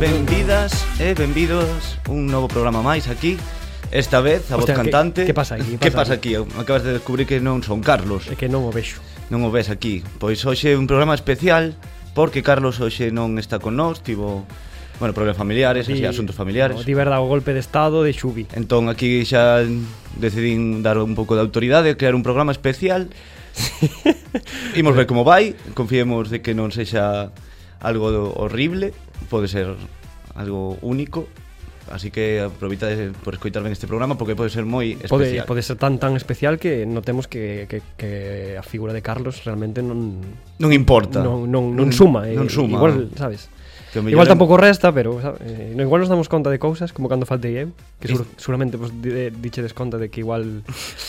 Benvidas e eh, benvidos un novo programa máis aquí Esta vez a voz Hostia, que- cantante que pasa aquí? Que Que pasa pasa aquí? Acabas de descubrir que non son Carlos É que non o vexo. Non o ves aquí Pois hoxe é un programa especial Porque Carlos hoxe non está con nós Tivo, bueno, problemas familiares, así, Di- asuntos familiares No, di verdade, o golpe de estado de Xubi. Entón aquí xa decidín dar un pouco de autoridade Crear un programa especial Imos ver como vai Confiemos de que non sexa algo do- horrible Pode ser algo único Así que aproveitade por escoitar ben este programa Porque pode ser moi Pode, especial pode ser tan tan especial que notemos que, que, que a figura de Carlos realmente non Non importa non, non, non suma, eh, Non suma igual, sabes? Que o mellor Igual en- tampouco resta, pero sabe, eh, no, igual nos damos conta de cousas como cando faltei eu, que sur, Is- seguramente pues, di, eh, dichedes conta de que igual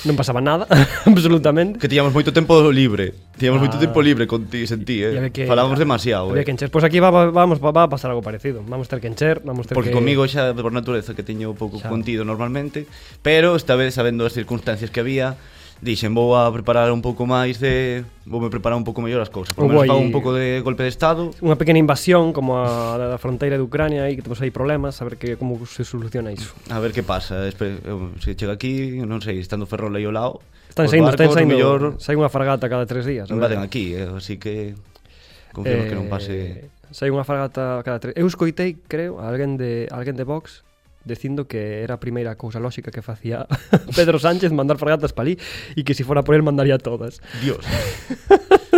non pasaba nada, absolutamente. Que tiñamos moito tempo libre Tiñamos Ah. moito tempo libre con ti, sentí, eh E había que- Falábamos demasiado, eh había que encher. Pois pues aquí va, va, vamos, va, va a pasar algo parecido. Vamos ter que encher, vamos ter Porque que... comigo xa por natureza que teño pouco Xa. contido normalmente Pero esta vez sabendo as circunstancias que había Dixen vou a preparar un pouco máis de Vou me preparar un pouco mellor as cousas Por lo Houbo menos fago aí- un pouco de golpe de estado unha pequena invasión como a da fronteira de Ucrania e que temos aí problemas, a ver que como se soluciona iso. A ver que pasa Espe- eu- Se chega aquí, non sei, estando Ferrol aí ao lado os Están saindo, están barcos, saindo, mellor sai unha fragata cada tres días. a ver. Invaden aquí, eh, así que Confiemos que non pase Eh, Sai unha fragata cada tres... Eu escoitei, creo, a alguén de alguén de Vox dicindo que era a primeira cousa lóxica que facía Pedro Sánchez mandar fragatas para ali e que se fora por el mandaría todas. Dios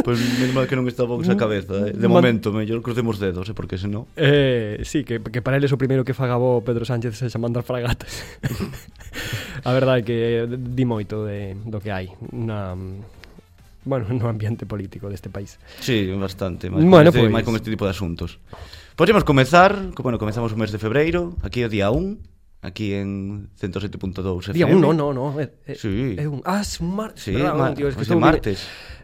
Pois pues, menos mal que non está Vox a cabeza eh. De Man- momento, mellor crucemos dedos eh, Porque senón Eh, sí, que, que para eles o primeiro que fagabó Pedro Sánchez se mandar fragatas. a verdade é que eh, di moito de, do que hai na bueno, no ambiente político deste país. Sí, bastante, máis Bueno, con, este, pois. máis con este tipo de asuntos. Podemos comezar, co- bueno, comezamos o mes de febreiro, aquí é día 1, aquí en 107.2 FM. Día 1, no, no, no, é, é, Sí. é un, ah, é un martes, Sí, verdad, ma- un, tío, es que hoxe estou martes.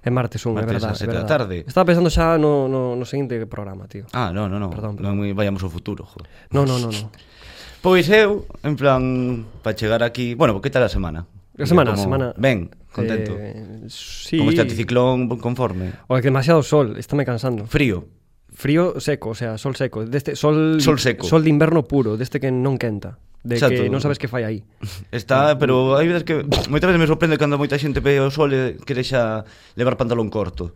É martes un, é Martes verdade, ás é sete da verdade. tarde. Estaba pensando xa no, no, no seguinte programa, tío. Ah, no, no, no, Perdón, non vayamos ao futuro, jo. No, no, no, no. Pois eu, en plan, para chegar aquí, bueno, que tal a semana? A semana, Como- a semana. Ben, contento. Eh, Eh, sí. Como este anticiclón, bon conforme. O que demasiado sol, estáme cansando. Frío. Frío seco, o sea, sol seco, deste sol Sol seco. sol de inverno puro, deste que non quenta, de Exacto. que non sabes que fai aí. Está, pero hai veces que moitas veces me sorprende cando moita xente ve o sol e quere xa levar pantalón corto.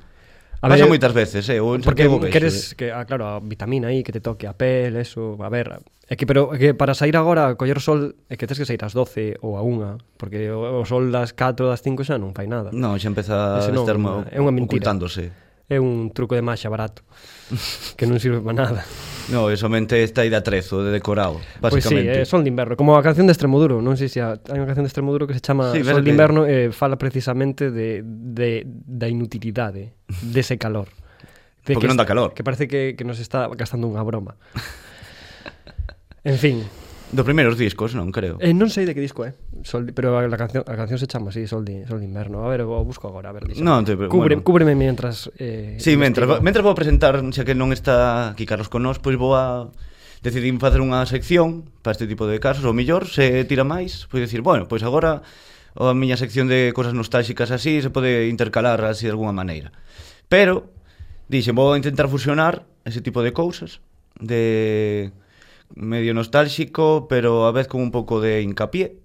A A Pasa ver, moitas veces, eh, ou en Porque Santiago vexo, eh. queres que ah, claro, a vitamina aí que te toque a pel, eso, a ver, é que pero é que para sair agora a coller sol é que tes que sair ás 12 ou a 1, porque o, o sol das 4 das 5 xa non fai nada. Non, xa empeza a Ese non, estar é unha mentira. ocultándose. É un truco de maxa barato que non sirve para nada. No, é somente esta ida trezo de decorado, Pois sí, basicamente. é sol de inverno, como a canción de Extremoduro, non sei se a- hai unha canción de Extremoduro que se chama Sí, sí, verdade. Sol de inverno e eh, fala precisamente de, de, da inutilidade dese calor. Porque non dá es- calor. Que parece que, que nos está gastando unha broma. en fin, Dos primeiros discos, non, creo. eh, non sei de que disco é, eh? sol de, pero a, la canción, a canción se chama así, Sol de, sol de inverno. A ver, o busco agora, a ver, dixo. Non, te- pero Cubre, bueno. Cúbreme mientras... Eh, Sí, mentras, investigo. mentras vou a presentar, xa que non está aquí Carlos con nós, pois vou a decidín facer unha sección para este tipo de casos, ou millor, se tira máis, pois decir, bueno, pois agora a miña sección de cosas nostálxicas así se pode intercalar así de alguna maneira. Pero, dixen, vou a intentar fusionar ese tipo de cousas de medio nostálxico, pero a vez con un pouco de hincapié,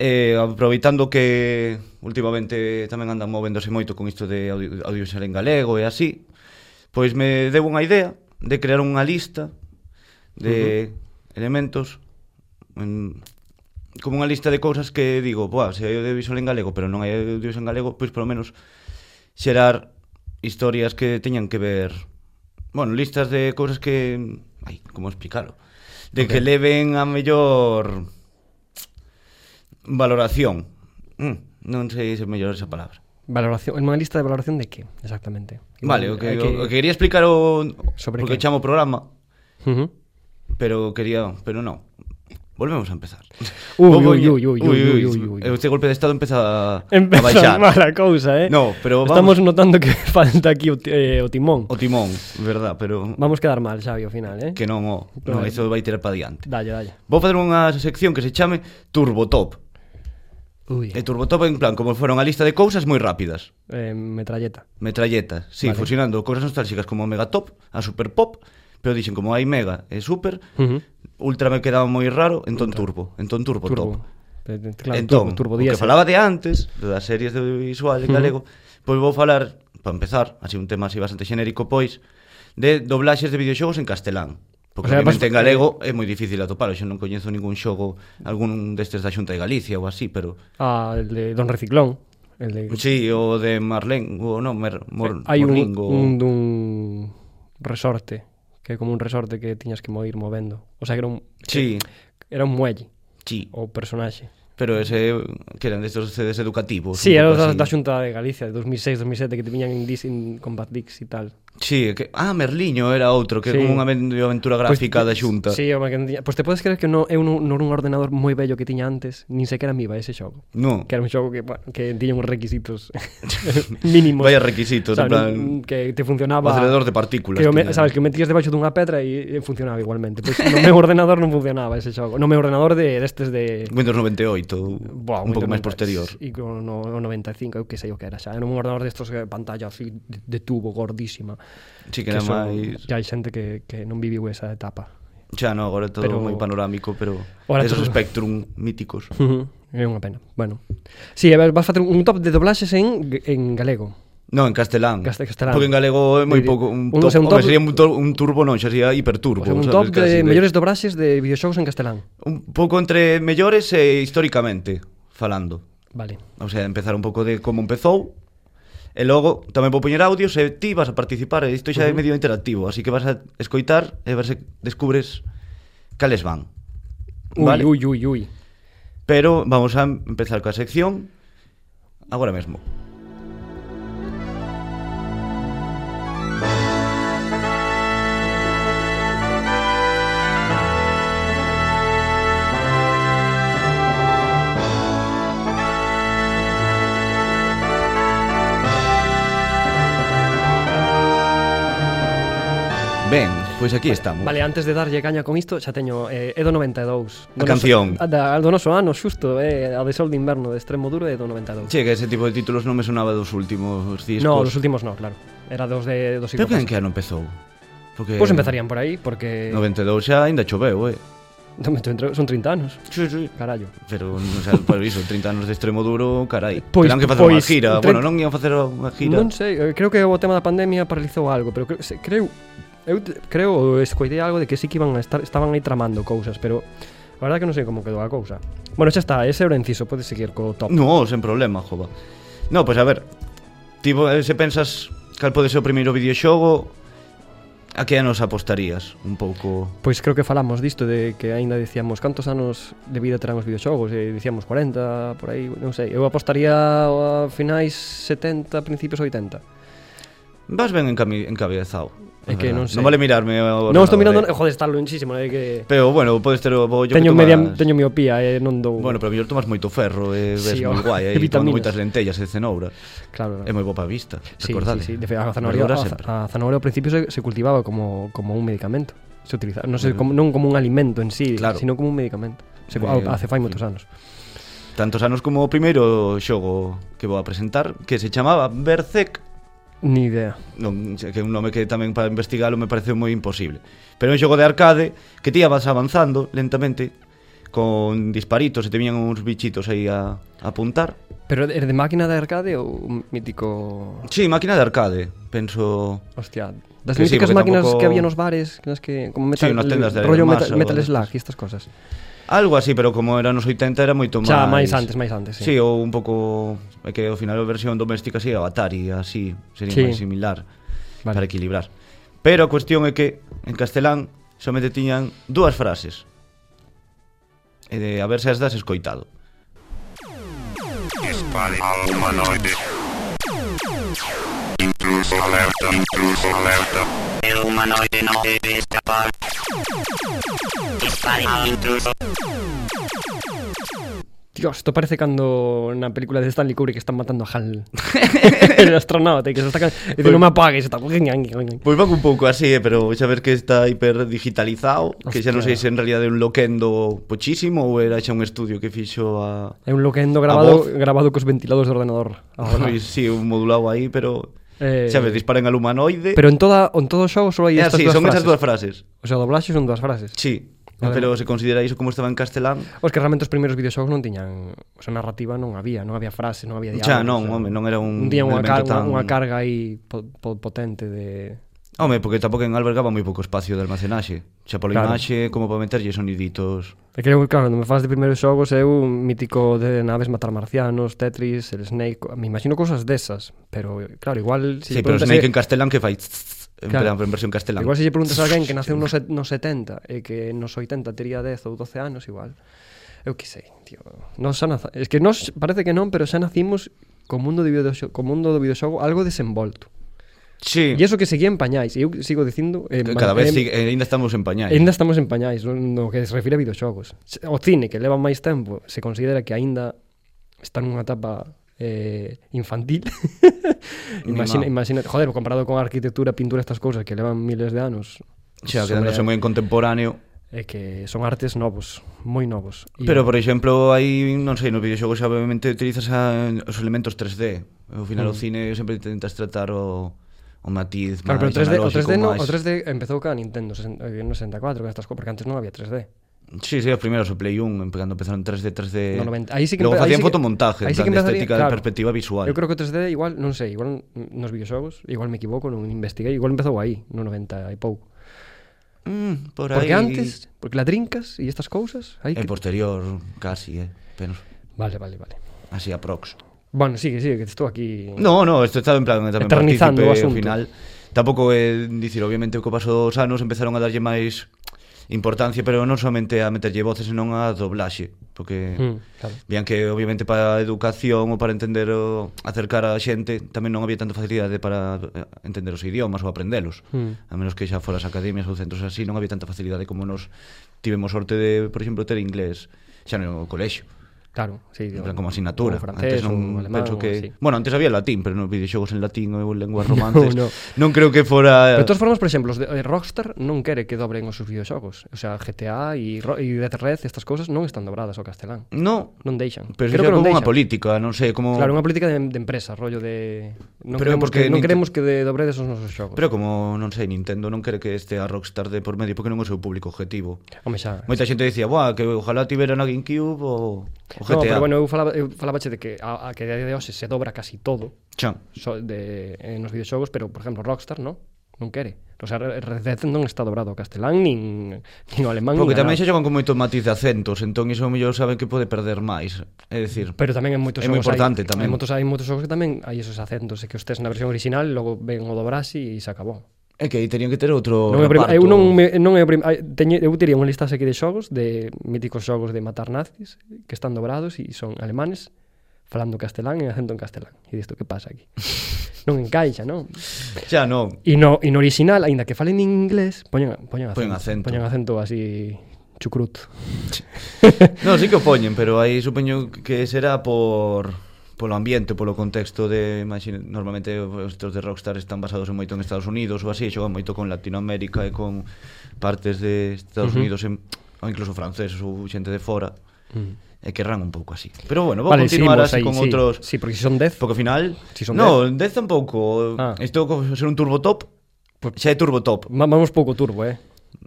Eh, aproveitando que últimamente tamén andan movéndose moito con isto de audio, audiovisual en galego e así, pois me deu unha idea de crear unha lista de uh -huh. elementos en, como unha lista de cousas que digo, boa, se hai audiovisual en galego, pero non hai audiovisual en galego, pois polo menos xerar historias que teñan que ver, bueno, listas de cousas que, ai, como explicalo, de okay. que leven a mellor valoración. Mm, non sei se é mellor esa palabra. Valoración, en unha lista de valoración de que, exactamente. Vale, o que, Hai o que quería explicar o Sobre porque que? chamo o programa, Ujú. pero quería, pero non. Volvemos a empezar. Ui, Vou- ui, vou- ui, ui, ui, ui, ui, ui. Este golpe de estado empeza a, a Empezou baixar. mal a cousa, eh? No, pero vamos Estamos notando que falta aquí o, ti- eh, o timón. o timón, verdad, pero Vamos quedar mal, Xavi, ao final, eh? que non, o, non, Claro. iso vai tirar para diante. Dalle, dalle. Vou fazer unha sección que se chame Turbotop. Ui. E Turbotop en plan como foron a lista de cousas moi rápidas. Eh, metralleta. Metralletas, sí, Vale. vale. fusionando cousas nostálgicas como Mega Top, a Super Pop, pero dixen como hai Mega e Super, Uh -huh. Ultra me quedaba moi raro, entón Turbo, entón Turbo, Top. Turbo. Eh, eh, Claro, entón, turbo, turbo o que 10. falaba de antes, das series de visual en galego, pois vou falar, para empezar, así un tema así bastante xenérico, pois, de doblaxes de videoxogos en castelán. Porque O sea, obviamente vas- en galego é moi difícil atopar, eu non coñezo ningún xogo, algún destes da Xunta de Galicia ou así, pero... Ah, el de Don Reciclón. El de... Sí, o de Marlén, o non, Mer, Mor, hai un, Morlingo... un dun resorte, que é como un resorte que tiñas que mo ir movendo. O sea, que era un, Sí, era un muelle, sí, o personaxe. pero ese que eran destes CDs educativos. Sí, Pois un era pouco da, así. da Xunta de Galicia, de 2006-2007, que te viñan en Dis, en Combat Dix e tal. Sí, que, ah, Merliño era outro, que é Sí. como unha aven- aventura gráfica da Xunta. Sí, home, que non tiña... Pois te podes creer que non, eu non, non era un ordenador moi bello que tiña antes, nin sequera me iba ese xogo. No. Que era un xogo que, bueno, que tiña uns requisitos mínimos. Vaya requisitos, en plan- non- Que O te funcionaba... acelerador de partículas. Que o me, tiña. sabes, que o metías debaixo dunha pedra e e funcionaba igualmente. Pois no meu ordenador non funcionaba ese xogo. No meu ordenador de destes de Windows 98, Buah, un pouco máis 90, posterior. E con no, o 95, eu que sei o que era xa. Era un ordenador destos que pantalla así de, de tubo gordísima. Sí que era son- máis... Ya hai xente que, que non viviu esa etapa. Xa non, agora é todo Pero- moi panorámico, pero Ora esos todo- Spectrum míticos. é unha pena. Bueno. Sí, a ver, vas facer un top de doblaxes en, en galego. No, en castelán. Caste- castelán. Porque en galego é moi Di- pouco un un- o top, sea, un home, top- sería un, to- un turbo non, xa sería hiperturbo, O sea, un sabes, top casi de, mellores doblaxes de videoxogos en castelán. un pouco entre mellores e históricamente falando. Vale. O sea, empezar un pouco de como empezou E logo tamén vou poñer audios e ti vas a participar e isto xa é medio interactivo, así que vas a escoitar e ver se descubres cales van. Ui, ui, ui, ui. Pero vamos a empezar coa sección agora mesmo. Ben, pois pues aquí estamos. Vale, antes de darlle caña con isto, xa teño eh, é do 92. A canción. Noso, a da, do noso ano, xusto, eh, a de Sol de Inverno de Extremo Duro é do 92. Che, que ese tipo de títulos non me sonaba dos últimos discos. no, dos últimos no, claro. Era dos de dos Pero que en que ano empezou? Porque Pois empezarían por aí, porque 92 xa ainda choveu, eh. no, me entro- son 30 anos, Sí, sí. carallo. Pero, o sea, por iso, 30 anos de extremo duro, carai. Pois- Terán que facer pois, unha gira. tre- Bueno, non iban facer unha gira. Non sei, eh, creo que o tema da pandemia paralizou algo, pero creo, se- creo eu te- creo ou escoitei algo de que sí que iban a estar estaban aí tramando cousas, pero a verdade é que non sei como quedou a cousa. Bueno, xa está, ese era o inciso, podes seguir co top. No, sen problema, jova. No, pois pues, a ver. Tipo, eh, se pensas cal pode ser o primeiro videoxogo, a que anos apostarías un pouco? Pois creo que falamos disto de que aínda dicíamos cantos anos de vida terán os videoxogos e dicíamos 40 por aí, non sei. Eu apostaría a finais 70, principios 80. Vas ben encami- encabezado. É que non sei. Non vale mirarme ao non estou mirando, ordenador, eh. joder, está lonxísimo, é que Pero bueno, podes ter o bollo teño que media, tomas. teño miopía e non dou. Bueno, pero mellor tomas moito ferro e ves Sí, moi o- guai, e aí tomando vitaminas. moitas lentellas e cenoura. claro. É moi boa pa vista, sí, recordade. sí, sí, de fe, a zanahoria, Verdura a, sempre. a zanahoria ao principio se, se cultivaba como como un medicamento. Se utilizaba, non, se, como, non como un alimento en sí, Claro. sino como un medicamento. Se, Eh, hace fai moitos anos. Tantos anos como o primeiro xogo que vou a presentar, que se chamaba Berserk, Ni idea. non, que é un nome que tamén para investigalo me pareceu moi imposible. Pero é un xogo de arcade que ti vas avanzando lentamente con disparitos e te viñan uns bichitos aí a, a apuntar. Pero é de máquina de arcade ou un mítico Sí, máquina de arcade, penso... Hostia, das Que sí, míticas porque máquinas tampoco- que había nos bares, nas que como metal, Sí, nas tendas de rollo masa ou metal, metal algo Slug e estas cosas. Algo así, pero como era nos 80 era moito máis... Xa máis antes, máis antes, Sí, sí. ou un pouco é que ao final a versión doméstica si Atari, así, sería Sí. máis similar Vale. vale. para equilibrar. Pero a cuestión é que en castelán somente tiñan dúas frases. E de a ver se as das escoitado. Dispare al humanoide. Intruso alerta, intruso alerta. El humanoide no debe escapar. Dispare al intruso. Dios, isto parece cando na película de Stanley Kubrick están matando a Hal El astronauta e que se está... ca- E dice, non me apagues e tal. Pois van un pouco así, eh, pero xa ver que está hiper digitalizado, que xa non sei se en realidad é un loquendo pochísimo ou era xa un estudio que fixo a... É un A loquendo grabado, voz. grabado cos ventilados do ordenador. Ahora. Pois si, sí, un modulado aí, pero... Eh, Xa ves, disparan al humanoide... Pero en toda en todo o show só hai Eh, estas sí, dúas son frases. esas dúas frases. O sea, o doblaxe son dúas frases. Sí, Además. pero se considera iso como estaba en castelán... Os que realmente os primeiros videoxogos non tiñan, o sea, narrativa non había, non había frases, non había diálogos. Xa, non, o sea, home, non era un non tiña unha, elemento car tan- unha carga aí po po potente de Home, porque tampouco en albergaba moi pouco espacio de almacenaxe. Xa pola Claro. imaxe, como para meterlle soniditos... É que eu, claro, cando me falas de primeiros xogos é un mítico de naves matar marcianos, Tetris, el Snake, me imagino cousas desas, pero claro, igual Sí, lle pero preguntas Snake a- en castelán que fai... tss, En, pois Claro. plan, en versión castelán. Igual se lle preguntas a alguén que naceu nos, set- nos 70 e que nos 80 tería 10 ou 12 anos igual. Eu que sei, tío. Nos xa naza... Es que nos parece que non, pero xa nacimos co mundo do videoxogo, co mundo do videoxogo algo desenvolto. Sí, E iso que seguía en pañais, e eu sigo dicindo, eh, que cada man- vez eh, sigue, ainda estamos en pañais. Ainda estamos en pañais no, no que se refire a videoxogos. O cine que leva máis tempo se considera que aínda está nunha etapa eh, infantil. imagina, Mimao. imagina, joder, comparado con a arquitectura, pintura, estas cousas que levan miles de anos. Xa, sobre- quedándose moi en contemporáneo. É que son artes novos, moi novos. E- Pero, por exemplo, aí, non sei, nos videoxogos xa obviamente utilizas a, os elementos 3D. Ao final mm. o cine sempre intentas tratar o, o matiz claro, pero máis o 3D, o analóxico, 3D, no, máis... o 3D empezou ca Nintendo 60, eh, no 64, con estas co- porque antes non había 3D. Sí, sí, os primeiros, o Play 1, em- cando empezaron 3D, 3D... No, 90. Aí sí que Logo empe- aí facían sí que- fotomontaje, en aí sí que plan de empezaría- estética claro. de perspectiva visual. Eu creo que o 3D igual, non sei, igual nos videoxogos, igual me equivoco, non investiguei, igual empezou aí, no 90 e pouco. Mm, por Eh, aí... Porque antes, porque la trincas e estas cousas, hai É que... posterior, casi, eh. Pero, Vale, vale, vale. así aprox. Bueno, sigue, sigue, que estou aquí... No, no, isto está en plan tamén Mm. Eternizando o partícipe, asunto. Ao final, tampouco é dicir, obviamente, co paso dos anos empezaron a darlle máis importancia, pero non somente a meterlle voces, senón a doblaxe, porque Mm, claro. Vían que obviamente para a educación ou para entender o acercar a xente tamén non había tanta facilidade para eh, entender os idiomas ou aprendelos. Hmm. A menos que xa foras a academias ou centros así non había tanta facilidade como nos tivemos sorte de, por exemplo, ter inglés xa no colexio. Claro, sí. En o- plan, como asignatura. o antes francés, non o alemán, penso o que... así. Bueno, antes había latín, pero nos videoxogos en latín ou en lenguas romances. no. Non creo que fora... Pero de todas formas, por exemplo, os de eh, Rockstar non quere que dobren os seus videoxogos. O sea, GTA e Ro- e Red Red, estas cousas non están dobradas ao castelán. No, Non deixan. pero Creo xa que non como unha deixan. política, non sei, como... Claro, unha política de, de empresa, rollo de non Pero é queremos porque que non Ninte- queremos que de dobredes os nosos xogos. Pero como, non sei, Nintendo non quere que este a Rockstar de por medio porque non é o seu público objetivo. Home xa. Moita xente dicía, "Buah, que ojalá tivera na GameCube o o No, GTA". pero bueno, eu falaba eu falabache de que a, a que a día de hoxe se dobra casi todo Chan. so, de eh, nos videoxogos, pero por exemplo Rockstar, non? Non quere. O sea, Re- Red Dead non está dobrado ao castelán nin nin ao alemán. Porque nin a tamén nada. xa xogan con moito matiz de acentos, entón iso ao mellor saben que pode perder máis. É dicir, Pero tamén en moitos É moi xogos hai- importante tamén. Hai moitos, hai moitos xogos que tamén hai esos acentos, é que os tes na versión original, logo ven o dobraxe e se acabou. é que aí terían que ter outro non é o prim- reparto. eu non me, non é o prim- ai, teñe, eu tería unha lista aquí de xogos de míticos xogos de matar nazis que están dobrados e son alemanes falando castelán e acento en castelán. E disto que pasa aquí? non encaixa, non? Xa non. E no, e no original, aínda que falen en inglés, poñen, poñen acento. Poñen acento. Poñen acento así chucrut. Non, sí que o poñen, pero aí supoño que será por polo ambiente, polo contexto de imagine, normalmente estos de Rockstar están basados en moito en Estados Unidos ou así, xogan moito con Latinoamérica e con partes de Estados uh -huh. Unidos en, ou incluso franceses ou xente de fora. Uh -huh. E querrán un pouco así. Pero bueno, vou continuar Mm. seguimos así aí, con sí, outros Sí, porque se son 10, Porque ao final... Si son no, 10 tampouco. Ah. Isto co ser un turbo top, Pues- xa é turbo top. va- vamos pouco turbo, eh.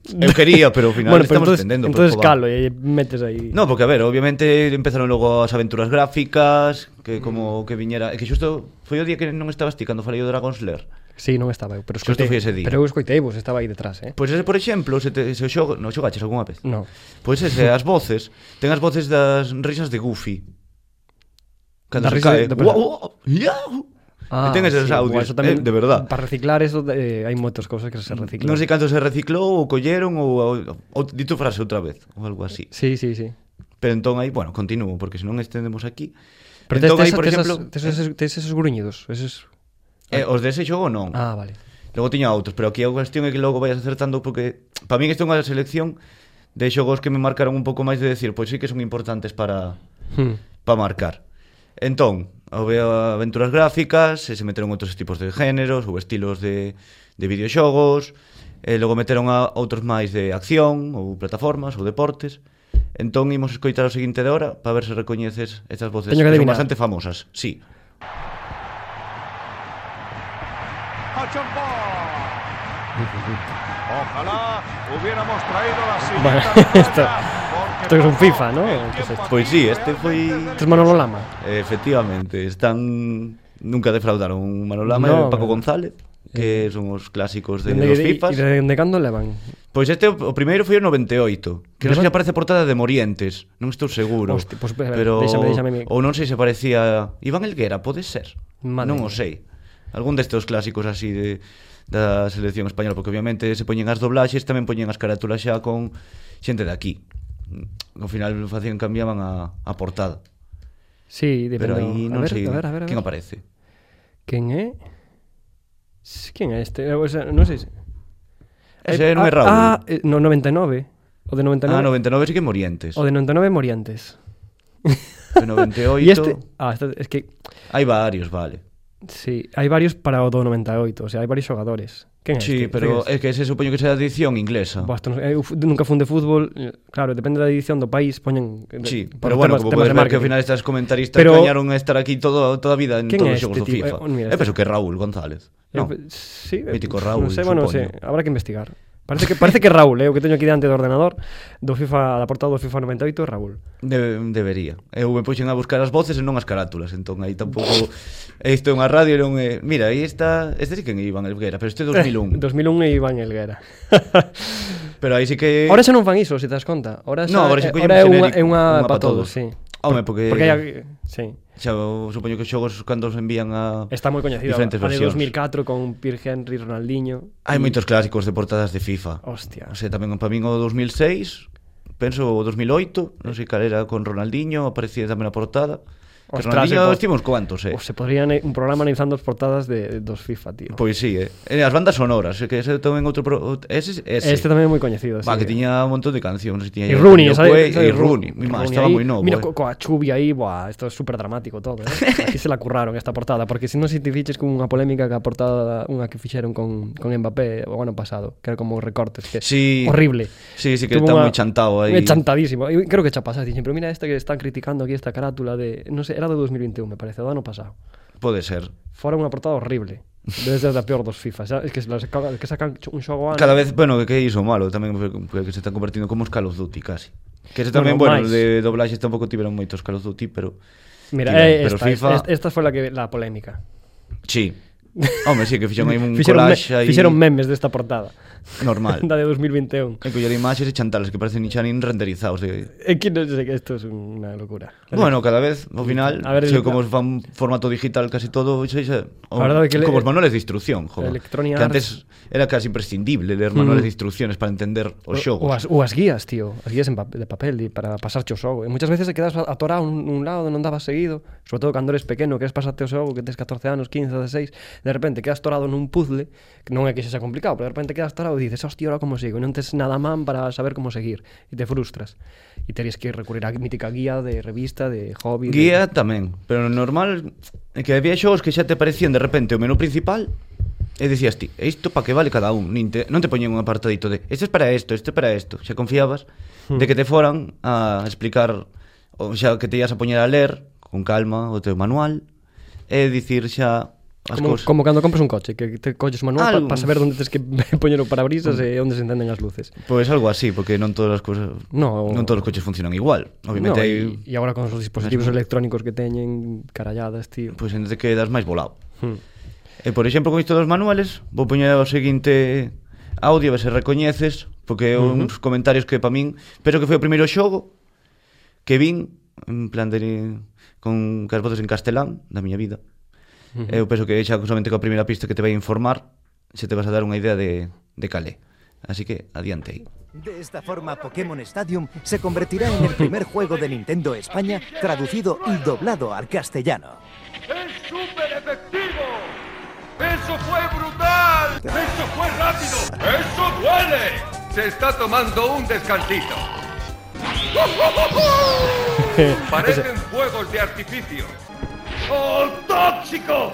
Eu quería, pero ao final estamos entonces, tendendo. por entonces favor. calo e metes aí. No, porque a ver, obviamente empezaron logo as aventuras gráficas, que Mm. como que viñera, e que xusto foi o día que non estabas ti cando falei do Dragon's Lair. Sí, non estaba eu, pero Xusto escoitei. foi ese día. Pero eu escoitei vos, estaba aí detrás, eh. Pois ese, por exemplo, se, te, se o xogo, non xogaches algunha vez. No. Pois ese, as voces, ten as voces das risas de Goofy. Cando Da se risa cae. de- da "Uau, uau, iau". E ten esos Ah, sí, audios, bueno, eso eh, tamén- de verdad. Mm, Para reciclar eso eh, hai moitas cousas que se reciclan. Non sei canto se reciclou ou colleron ou, ou, ou dito frase outra vez ou algo así. Sí, sí, sí. Pero entón aí, bueno, continuo porque senón estendemos aquí. Pero entón tes, aí, tes, por tes, exemplo, esas- tes, esos, tes esos gruñidos, esos eh, os dese xogo non. Ah, vale. Logo tiña outros, pero aquí a cuestión é que logo vayas acertando porque para min isto é unha selección de xogos que me marcaron un pouco máis de decir, pois sí que son importantes para Hmm. para marcar. Entón, había aventuras gráficas, e se meteron outros tipos de géneros ou estilos de, de videoxogos, e logo meteron a outros máis de acción ou plataformas ou deportes. Entón, imos escoitar o seguinte de hora para ver se recoñeces estas voces Teño son que adivinar. bastante famosas. Sí. Ojalá hubiéramos traído la Bueno, siguiente esto, esto es un FIFA, ¿no? Entonces, Pois sí, este foi... esto es Manolo Lama. Efectivamente, están nunca defraudaron Manolo Lama No, e Paco no. Eh, González, que son os clásicos de, Dende- dos e- FIFAs. E de, de cando levan? Pois este o o primeiro foi o 98, que non sei Pero- se aparece a portada de Morientes, non estou seguro. Hostia, pois, espera, pero déxame- déxame mi- ou non sei se parecía Iván Elguera, pode ser. Madre non o mía. sei. Algún destes clásicos así de da selección española, porque obviamente se poñen as doblaxes, tamén poñen as carátulas xa con xente de aquí. Ao final facían cambiaban a, a portada. Sí, Pero aí depende. a non ver, sei a ver, a ver, a ver. quen aparece. Quen é? S- Quen é este? Eh, O sea, non sei se... Ese Eh, non é Raúl. Ah, ah, eh, no, 99. O de 99. Ah, 99 sí que Morientes. O de 99 Morientes. De 98. E este... Ah, este, es que... Hai varios, vale. Sí, hai varios para o do 98. O sea, hai varios xogadores. Quen é Sí, este? pero é Quen que ese supoño que será edición inglesa. Buah, esto non sei, eu fu- nunca fun de fútbol eh, Claro, depende da edición do país Poñen eh, Sí, por pero bueno, temas- como temas podes ver de que ao marketing. final estas comentaristas Pero- pero... gañaron a estar aquí todo, toda a vida en ¿Quién todos é os xogos este do tipo? FIFA. Eh, mira, Eu este- penso que é Raúl González. No. Eh, pe- sí, eh, Mítico pues, Raúl, Non sei, bueno, non sei, supoño. habrá que investigar. Parece que parece que é Raúl, eh, o que teño aquí diante do ordenador, do FIFA, da portada do FIFA 98 é Raúl. De, debería. Eu me puxen a buscar as voces e non as carátulas, entón aí tampouco isto é unha radio, non é... Mira, aí está, este sí que é Iván Elguera, pero este é 2001. 2001 e Iván Elguera. Pero aí sí que Ahora xa non fan iso, se te das conta. Ahora xa, Eh, No, ahora xa eh, collen ahora é unha genérico, é unha unha para pa todos. todos, sí. Home, porque- porque hai, sí. xa eu supoño que os xogos cando os envían a Está moi coñecido diferentes a de versións. 2004 con Pierre Henry, Ronaldinho. Hai moitos clásicos de portadas de FIFA. Hostia. O sea, tamén para min o 2006, penso o 2008, non sei cal era con Ronaldinho, aparecía tamén a portada. Que Ostras, Ronaldinho e po- estimos cuantos, eh. O se podrían eh, un programa analizando as portadas de, dos FIFA, tío. Pois sí, eh. E as bandas sonoras, é que ese tamén outro pro... ese ese. Este tamén é moi coñecido, Va, sí. que tiña un montón de cancións, tiña E Rooney, Yo sabe, Cue- e sabe Rooney, mi má, estaba aí, moi novo. Mira, eh. co, coa chuvia aí, buah, isto é super dramático todo, eh? Aquí se la curraron esta portada, porque se non se te fiches con unha polémica que a portada, unha que fixeron con, con Mbappé o ano pasado, que era como recortes, que Sí. horrible. Sí, sí, que está Tuvo unha- moi chantado aí. É chantadísimo. E creo que xa pasa, dixen, pero mira esta que están criticando aquí esta carátula de, non sei, era do 2021, me parece, do ano pasado. Pode ser. Fora unha portada horrible. Debe ser da peor dos FIFA, xa, es que, se las, caga- que sacan cho- un xogo ano. Cada vez, bueno, que iso malo tamén foi- foi que se están convertindo como os Call of Duty casi. Que ese tamén, Bueno, bueno, máis. de doblaxes tampouco tiveron moitos Call of Duty, pero Mira, Tío, eh, pero esta, FIFA- esta, esta foi la que la polémica. sí. Home, sí, que fixeron aí un fixeron, me, collage aí fixeron memes desta portada normal. da de 2021 E coller imaxes e chantales que parecen xa nin renderizados de... é que non sei que isto é unha locura Bueno, cada vez, ao final, A ver, sei el- como os fan formato digital casi todo, sei xa, o, A verdade que le- como os manuales de instrucción, jo, Electronic Hmm. que antes era casi imprescindible ler manuales de instrucciones para entender os O, xogos. as, ou as guías, tío As guías en pa de papel di, para pasarche o xogo E moitas veces te quedas atorado un, un lado Non dabas seguido Sobre todo cando eres pequeno Queres pasarte o xogo Que tens 14 anos, 15, 16 De repente quedas atorado nun puzzle Que non é que xa sea complicado Pero de repente quedas atorado E dices Hostia, ahora como sigo E non tens nada man para saber como seguir E te frustras E terías que recurrir á mítica guía de revista De hobby de- Guía tamén, pero no normal é que había xogos que xa te parecían de repente o menú principal e decías ti, "E isto para que vale cada un, nin te, non te poñen un apartadito de, isto é para isto, isto é para isto, xa confiabas Hmm. de que te foran a explicar, ou xa que te ibas a poñer a ler con calma o teu manual e dicir xa as como, cousas. como cando compras un coche, que te colles o manual para Algo. Mm. pa saber onde tens que poñer o parabrisas e onde se encenden as luces. Pois algo así, porque non todas as cousas No, non todos os coches funcionan igual. Obviamente no, hai e- e agora con os dispositivos electrónicos que teñen caralladas, tío. pois ainda te quedas máis volado. Hmm. E por exemplo, con isto dos manuales, vou poñer o seguinte audio, a ver se recoñeces, porque é uns comentarios que para min, penso que foi o primeiro xogo que vin en plan de con cas voces en castelán da miña vida. Eu penso que xa solamente coa primeira pista que te vai informar, se te vas a dar unha idea de de calé. Así que adiante aí. De esta forma, Pokémon Stadium se convertirá en el primer juego de Nintendo España traducido y doblado al castellano. ¡Es súper efectivo! ¡Eso fue brutal! ¡Eso fue rápido! ¡Eso duele! Se está tomando un descansito. Parecen fuegos de artificio. ¡Oh, tóxico!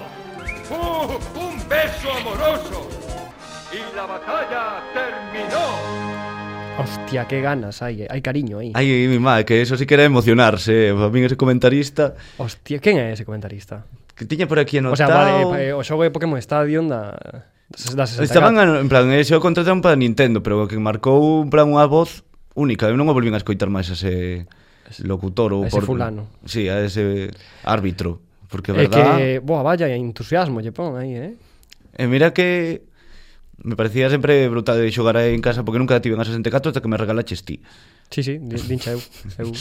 ¡Uh, un beso amoroso. Y la batalla terminó. Hostia, qué ganas hay, eh. hai cariño aí. Ai, mi má, que eso sí que era emocionarse. eh. A min ese comentarista Hostia, quen é ese comentarista? que tiña por aquí anotado... O sea, vale, pa- eh, o xogo de Pokémon Stadium da da 64. Estaban a- en plan, ese o contrataron para Nintendo, pero que marcou en plan unha voz única, eu non o volvín a escoitar máis a ese locutor ou a ese fulano. Si, sí, a ese árbitro, porque É verdad. que, boa, vaya, entusiasmo lle pon aí, eh? E mira que me parecía sempre brutal de xogar aí en casa porque nunca tiven a 64 hasta que me regalaches ti. Sí, sí, di- dincha eu. eu.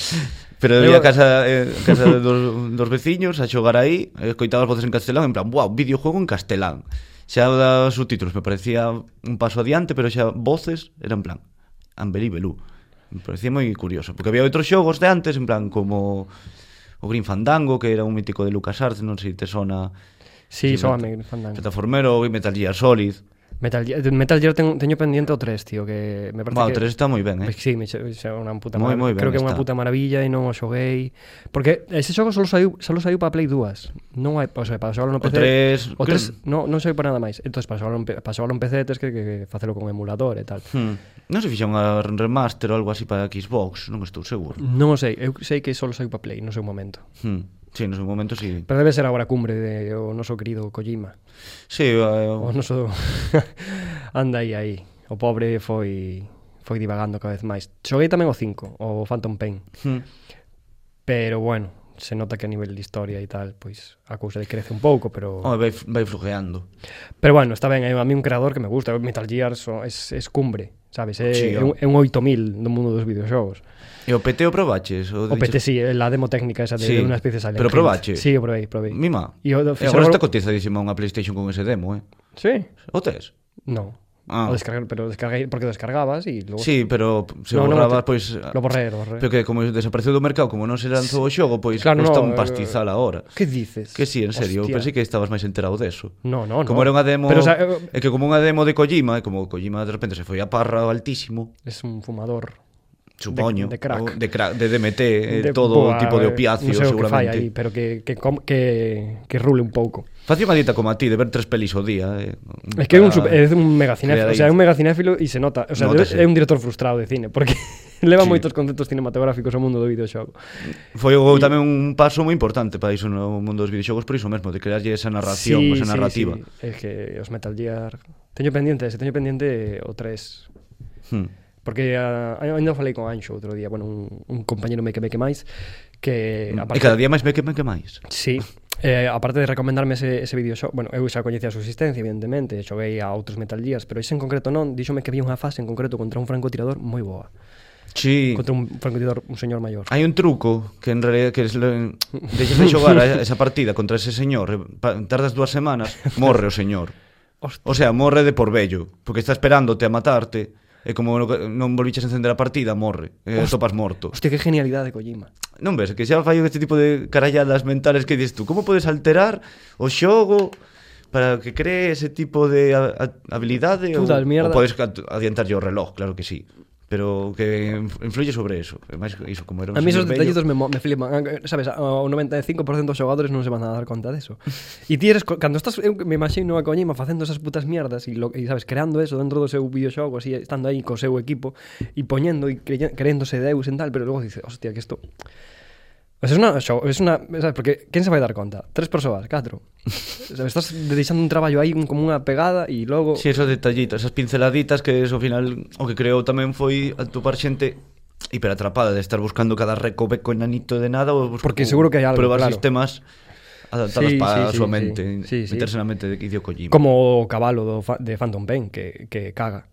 Pero eu Eu- ia a casa, eh, a casa dos, dos veciños a xogar aí, e escoitaba as voces en castelán, en plan, wow, videojuego en castelán. Xa os subtítulos me parecía un paso adiante, pero xa voces era en plan, Amber y Belú. Me parecía moi curioso, porque había outros xogos de antes, en plan, como o Green Fandango, que era un mítico de LucasArts, non sei se te sona Sí, Sí, só a Marta. mí, fandango. plataformero, o Metal Gear Solid. Metal Gear, de Metal Gear ten, teño pendiente o 3, tío, que me parece Bueno, o que... tres está moi ben, eh? Pois Sí, me che- xa unha puta Moi, moi maravilla. ben Creo que é unha está. puta maravilla e non o xoguei. Porque ese xogo só saiu, só saiu para Play 2. Non hai, o sea, para xogarlo no O PC. tres, o creo- 3 non, non saiu para nada máis. Entón, para xogarlo, en pe- para xogarlo en PC tes que, que, que facelo con emulador e tal. Hmm. Non se fixa unha remaster ou algo así para Xbox, non estou seguro. Non o sei, eu sei que só saiu para Play no seu momento. Hmm. Sí, no seu momento sí. Pero debe ser a hora cumbre de o noso querido Kojima. Sí, eh, O noso anda aí aí. O pobre foi foi divagando cada vez máis. Xoguei tamén o 5, o Phantom Pain. Hmm. Pero bueno, se nota que a nivel de historia e tal, pois a cousa decrece un pouco, pero Home, vai, vai flujeando. pero bueno, está ben, eh, a mí un creador que me gusta, Metal Gear so, es, es cumbre, sabes? É, Sí, ah. é, o- un, é un 8000 do mundo dos videoxogos. E o PT o probaches? O, O PT sí, eh, la demo técnica esa de, Sí, de unha especie de Silent pero Hill. probache. Sí, o probei, probei. Mima. E o do- E agora fixeron- está cotizadísima unha Playstation con ese demo, eh? Sí? O tes? No. Ah. O descargar, pero descarguei porque o descargabas e logo Sí, pero se No, no, non, borraba, te- pois... lo borré, lo borré. Pero que como desapareceu do mercado, como non se lanzou o xogo, pois Claro, claro, custa no, un pastizal eh, agora. Que dices? Que sí, en serio, eu Hostia. pensei que estabas máis enterado deso. No, no, como no. era unha demo... Pero, o sea, eh, eu- É que como unha demo de Kojima, e como Kojima de repente se foi a parra altísimo, es un fumador. supoño, de o crack. de, crack, de DMT, eh, De- todo boa, tipo de eh, opiáceos, non sei o que fai seguramente. aí, pero que, que, com- que, que rule un pouco. Faci unha dieta como a ti, de ver tres pelis o día. Eh, Es que é un, para- super- é un megacinéfilo, crear o sea, é aí- un megacinéfilo e se nota, o sea, Nótase. é un director frustrado de cine, porque leva Sí. moitos conceptos cinematográficos ao mundo do videoxogo. Foi o, tamén un paso moi importante para iso no mundo dos videoxogos por iso mesmo, de crearlle esa narración, esa narrativa. Sí, sí. É que os Metal Gear... Teño pendiente ese, teño pendiente o 3, Hmm. Porque uh, ainda falei con Anxo outro día, bueno, un, un compañero me que me que máis que Hmm. E cada día máis me queman que máis. Sí, eh, aparte de recomendarme ese, ese vídeo xo- bueno, eu xa coñecía a subsistencia, evidentemente, xoguei a outros Metal Gears, pero ese en concreto non, díxome que había unha fase en concreto contra un francotirador moi boa. Sí. Contra un francotirador, un señor maior. Hai un truco que en realidad que es lo... deixas de xogar a esa partida contra ese señor, eh, pa- tardas dúas semanas, morre o señor. Hostia. O sea, morre de por vello, porque está esperándote a matarte, e como no- non volviches a encender a partida, morre. E topas morto. Hostia, que genialidade de Kojima. Non ves, que xa fallo este tipo de caralladas mentales que dices tú, como podes alterar o xogo para que cree ese tipo de ha- ha- habilidade Tú ou, das mierda. ou podes ad- adiantarlle o reloj, claro que sí pero que inf- influye sobre eso e máis iso como era un A mí señor esos vello, detallitos me, mo- me flipan. Ah, Sabes, o 95% dos xogadores non se van a dar conta deso. E ti eres, co- cando estás, eu me imagino a Kojima facendo esas putas mierdas e, lo, e sabes, creando eso dentro do seu videoxogo, así, estando aí co seu equipo e poñendo e creye- creéndose deus en tal, pero logo dices, hostia, que isto... O sea, es una, xo- es una, sabes, porque quen se vai dar conta? Tres persoas, catro. O sea, estás deixando un traballo aí como unha pegada e logo Si, esos detallitos, esas pinceladitas que eso, ao final o que creou tamén foi atopar xente hiperatrapada de estar buscando cada recoveco enanito de nada ou bus- Porque ou seguro que hai algo, probar claro. sistemas adaptados Sí, para sí, a súa sí, mente sí. Sí, sí. meterse na mente de Hideo Kojima como o cabalo do, fa- de Phantom Pain que, que caga.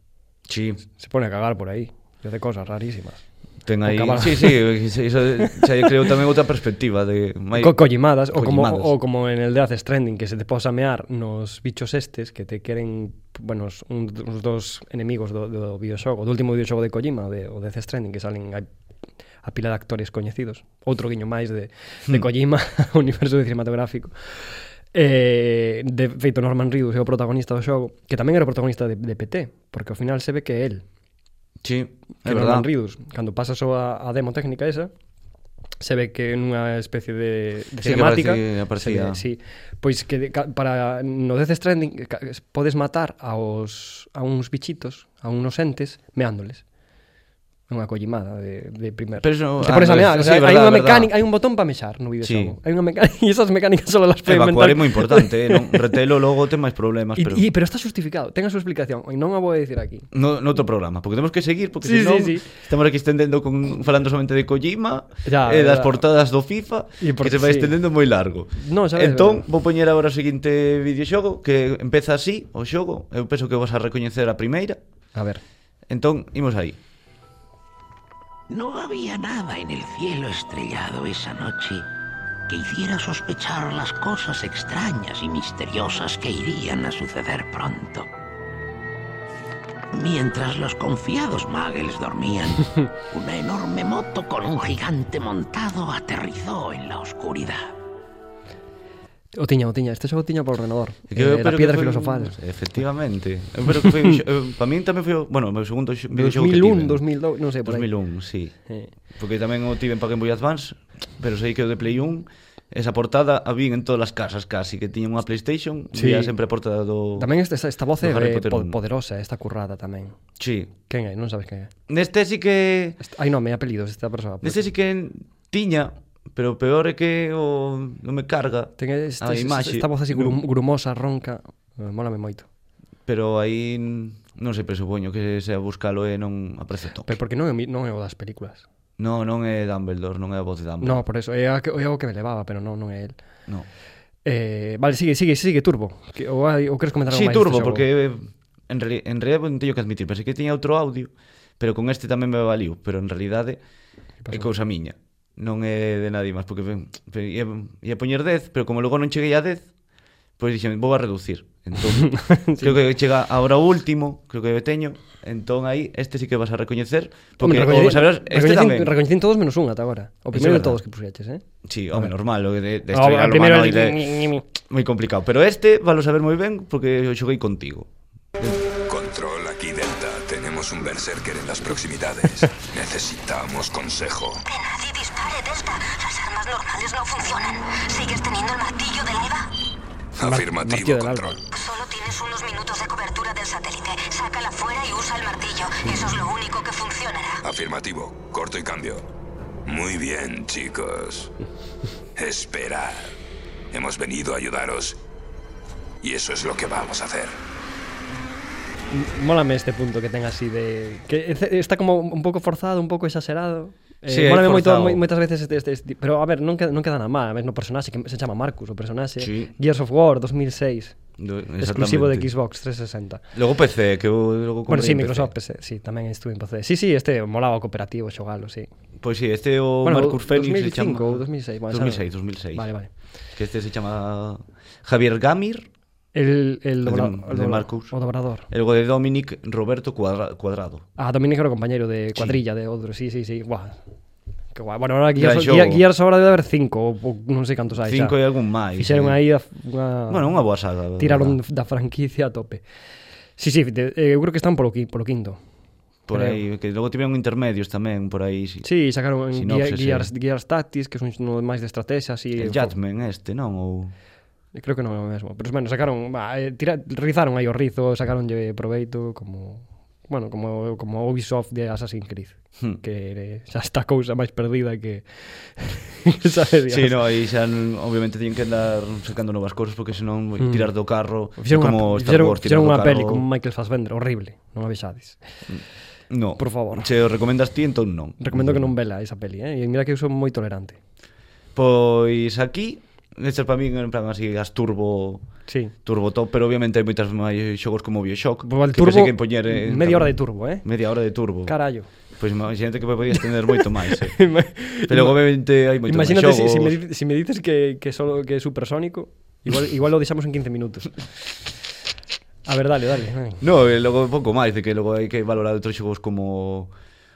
sí. Se pone a cagar por aí. E hace cosas rarísimas. Ten aí, cabal. sí, sí, iso xa lle creo tamén outra perspectiva de mai Co collimadas, o como, Collimadas. o como en el de Death Stranding que se te posa a mear nos bichos estes que te queren bueno, os, un, os dos enemigos do, do videoxogo, do último videoxogo de Kojima, de, o Death Stranding, que salen a, a pila de actores coñecidos. Outro guiño máis de, Hmm. de Kojima, ao universo cinematográfico. Eh, de feito, Norman Reedus é o protagonista do xogo, que tamén era o protagonista de, de PT, porque ao final se ve que é el Sí, é que verdade. Norman Reedus, cando pasas o a, a demo técnica esa, se ve que nunha especie de, de Sí, que cinemática aparece- aparecía. se ve, sí, pois que de- ca- para no Death Stranding ca- podes matar aos a uns bichitos, a unos entes meándoles. É unha collimada de, de primer. Pero eso- ah, te pones no, a mear, sí, o sea, verdad, hai unha verdad. mecánica, hai un botón para mexar no Sí. videoxogo. Hai unha mecánica e esas mecánicas solo las puede Evacuar inventar. é moi importante, eh? non retelo logo ten máis problemas, Y, pero pero... Y, pero está justificado, ten a súa explicación, e non a vou dicir aquí. no, no outro programa, porque temos que seguir, porque Sí, senón sí, sí. estamos aquí estendendo con falando somente de Kojima Ya, e das verdad. portadas do FIFA, E por- que se vai sí. estendendo moi largo. No, sabes, entón, verdad. vou poñer agora o seguinte videoxogo que empeza así, o xogo, eu penso que vas a recoñecer a primeira. A ver. Entón, imos aí. No había nada en el cielo estrellado esa noche que hiciera sospechar las cosas extrañas y misteriosas que irían a suceder pronto. Mientras los confiados muggles dormían, una enorme moto con un gigante montado aterrizó en la oscuridad. O tiña, o tiña, este xogo tiña por ordenador. Que Eh, eu la espero piedra que foi un- filosofal. Efectivamente. Eu espero que foi un xo- eu- pa min tamén foi, o- bueno, o meu segundo xo- videoxogo que 2001, tiven. 2002, non sei, por aí. 2001, sí. Eh. Porque tamén o tiven para Game Boy Advance, pero sei que o de Play 1 esa portada a vin en todas as casas casi que tiña unha PlayStation, Sí. sí. vía sempre a portada do Tamén esta, esta voz do é Harry eh, Potter po- un. poderosa, esta currada tamén. Sí. Quen é? Non sabes quen é. Neste sí que Est- Hai nome e apelidos esta persoa. neste sí que tiña, pero o peor é que o non me carga. Ten este, a Ah, imaxe. esta voz así grum, grumosa, ronca. Eh, Mólame moito. Pero aí non sei, presupoño que se a buscalo e non aparece top. Pero porque non é, o mi- non é o das películas. No, non é Dumbledore, non é a voz de Dumbledore. No, por eso. É, a que, é o que me levaba, pero non, non é el. No. Eh, vale, sigue, sigue, sigue, Turbo. Que, ou, hai, ou queres comentar algo Sí, máis turbo, deste xogo? porque eh, en, reali- en realidad non teño que admitir, pensei que tiña outro audio, pero con este tamén me valiu, pero en realidade é cousa miña. Non é de nadie máis, porque ben, pe- ia, ia poñer 10, pero como logo non cheguei a 10, pois dixen, vou a reducir. Entón, sí. creo que chega ahora o último, creo que o teño, entón aí este sí que vas a recoñecer, porque Home, Hombre, recoñecín- o, saberás, este recoñecín- tamén. recoñecín todos menos un ata agora. O Eso é primeiro de verdad. todos que puxeches, eh? Sí, home, normal, o de, de Ah, estregar o o primeiro humanoide el- ñi, ñi, ñi. moi complicado, pero este valo saber moi ben porque eu xoguei contigo. Control aquí Delta. Tenemos un berserker en las proximidades. Necesitamos consejo. Que nadie dispare, Delta. Las armas normales no funcionan. ¿Sigues teniendo el martillo del alba? martillo Afirmativo, del Control. Solo tienes unos minutos de cobertura del satélite. Sácala fuera y usa el martillo. Eso es lo único que funcionará. Afirmativo. Corto y cambio. Muy bien, chicos. Esperad. Hemos venido a ayudaros. Y eso es lo que vamos a hacer. Mólame este punto que ten así de que ece- está como un pouco forzado, un pouco exagerado. Eh, Sí, é mólame moito forzado. moi, moitas veces este, este, este, pero a ver, non queda, non queda nada mal, a ver no personaxe que se chama Marcus, o personaxe Sí. Gears of War 2006, Do- exclusivo de exactamente. Xbox 360. Logo PC, que eu logo Bueno, comprei sí, en Microsoft PC. PC, sí, tamén estuve en PC. Sí, sí, este molaba o cooperativo xogalo, sí. Pois sí, este é o Bueno, bueno, Marcus Fenix se 2005 chama... ou 2006, bueno, 2006, xa- 2006. Vale, vale. Que este se chama Javier Gamir, El el, de- doblado, de Marcus. o dobrador. e logo de Dominic Roberto Cuadra- Cuadrado. Ah, Dominic era o compañeiro de cuadrilla de outro, sí, sí, sí, guau. Que guai. Bueno, ahora Gran Gears, xogo. Gear- Gears ahora debe haber cinco, ou, ou non sei cantos hai Cinco e xa. algún máis. eh. Fixeron aí a, unha... Bueno, unha boa saga. de Ah. Tiraron verdad. da franquicia a tope. Sí, sí, de, eh, eu creo que están polo, qui- polo quinto. Por creo. aí, que logo tiveron intermedios tamén, por aí. Sí. Sí, sacaron en Gear, Sinopsis, eh. Gears, Gears Tactics, que son no máis de estrategias El e Judgment este, non? Ou... Creo que non é o mesmo, pero bueno, sacaron, bah, eh, tira, rizaron aí o rizo, sacaronlle proveito como bueno, como como Ubisoft de Assassin's Creed, hmm. que eh, xa está cousa máis perdida que sabes, Sí, Dios. no, aí xa n- obviamente teñen que andar sacando novas cosas porque senón mm. tirar do carro Fixeron como como Star fixeron, Wars tirar fixeron do unha carro. peli con Michael Fassbender horrible, non a vexades. No. Por favor. Se o recomendas ti, entón non. Recomendo que non vela esa peli, eh? E mira que eu son moi tolerante. Pois aquí, este para min en plan así as turbo Sí. turbo top, pero obviamente hai moitas máis xogos como Bioshock Bo, el que pensei turbo, que poñer eh, tamén. media hora de turbo, eh? Media hora de turbo. Carallo. Pois imagínate que me podías tener moito máis, eh. Pero obviamente hai moitos máis Imagínate xogos. si, si, me, di- si me dices que, que solo que é supersónico, igual, igual lo deixamos en 15 minutos. A ver, dale, dale. ai. No, e logo pouco máis, de que logo hai que valorar outros xogos como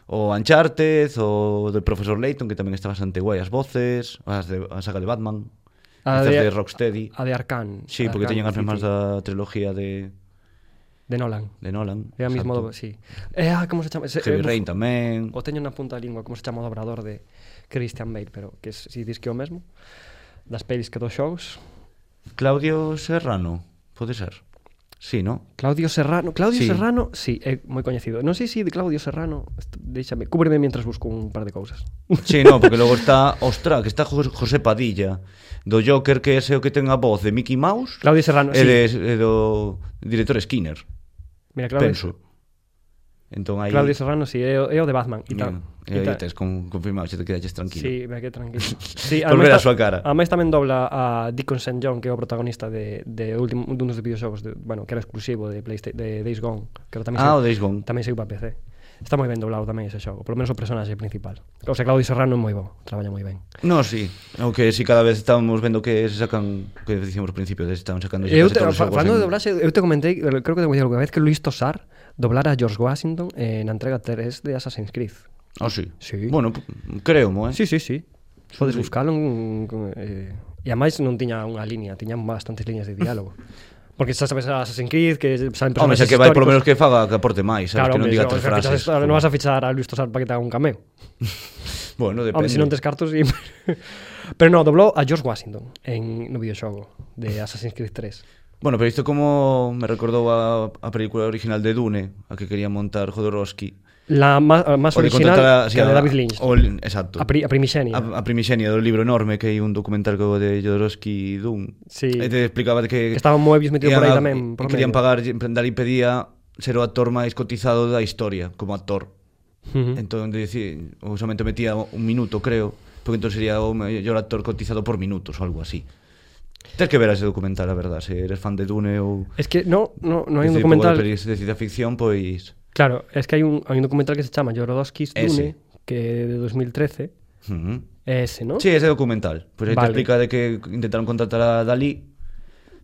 o Uncharted, o do Profesor Layton, que tamén está bastante guai as voces, as de, a saga de Batman, A as de, de- Rocksteady. A de Arcan. sí, porque teñen as mesmas da trilogía de, De Nolan. de Nolan. É a mesma exacto. do... Sí. Eh, ah, como se chama? Se, Heavy eh, Rain tamén. O teño na punta da lingua, como se chama o dobrador de... Christian Bale, pero que es, si dis que é o mesmo, das pelis que dos xogos. Claudio Serrano, pode ser. Sí, ¿no? Claudio Serrano, Claudio Sí. Serrano, sí, é moi coñecido. Non sei se si de Claudio Serrano, est- déixame, cúbreme mientras busco un par de cousas. Sí, no, porque logo está, ostra, que está Jo- José Padilla, do Joker que é o que ten a voz de Mickey Mouse. Claudio Serrano, e sí. de, e do director Skinner, Mira, Claudio, penso. Entón aí Claudio Serrano, sí, é, o- é o de Batman e tal. Mira, e aí tes con, confirmado, xe te quedaches tranquilo. Sí, me quedé tranquilo. Sí, Por ver a ta- súa cara. Ademais tamén dobla a Deacon St. John, que é o protagonista de, de último, un dos videoxogos, de, bueno, que era exclusivo de, Playsta de Days Gone. Que tamén Ah, saiu- o Days Gone. Tamén saiu para PC. Está moi ben doblado tamén ese xogo, polo menos o personaxe principal. O sea, Claudio Serrano é moi bo, traballa moi ben. No, sí. O que si cada vez estamos vendo que se sacan, o que dicíamos ao principio, de están sacando Eu case te, todos os fa- xogos falando en- de doblaxe, eu te comentei, creo que te comentei alguna vez que Luis Tosar doblara a George Washington eh, na entrega 3 de Assassin's Creed. Ah, sí. Sí. Bueno, creo, mo, eh. Sí, sí, sí. Podes buscalo en, en- eh, e ademais non tiña unha línea, tiña bastantes líneas de diálogo. Porque xa sabes a Assassin's Creed que saben Home, xa personaxes que vai polo menos históricos. que faga que aporte máis, sabes, que Claro, non hombre, diga xa- tres xa fichas- frases. Non vas a fichar a Luis Tosar para que te haga un cameo. Bueno, depende. Home, se non tes cartos y... Pero no, doblou a George Washington en no videoxogo de Assassin's Creed 3. Bueno, pero isto como me recordou a, a película original de Dune, a que quería montar Jodorowsky. La má- a máis O de original contratar a- sí, que a de a- David Lynch. o el- exacto. A, pri, a primixenia. A, a primixenia do libro enorme que hai un documental que o de Jodorowsky Dune. Sí. E te explicaba que, Que estaba Moebius metido por iban aí a- tamén, por e querían medio. pagar, en plan, Dalí pedía ser o actor máis cotizado da historia como actor. Ujú. Entón dicir, ou somente metía un minuto, creo, porque entón sería o mellor actor cotizado por minutos ou algo así. Tens que ver ese documental, a verdad, se eres fan de Dune ou Es que no, no, no hai un ese tipo documental... de pelis de ciencia ficción, pois Claro, es que hai un, hai un documental que se chama Jodorowsky's Ese. Dune, que é de 2013, mm. é ese, ¿no? Sí, ese documental. Pois aí Vale. te explica de que intentaron contratar a Dalí,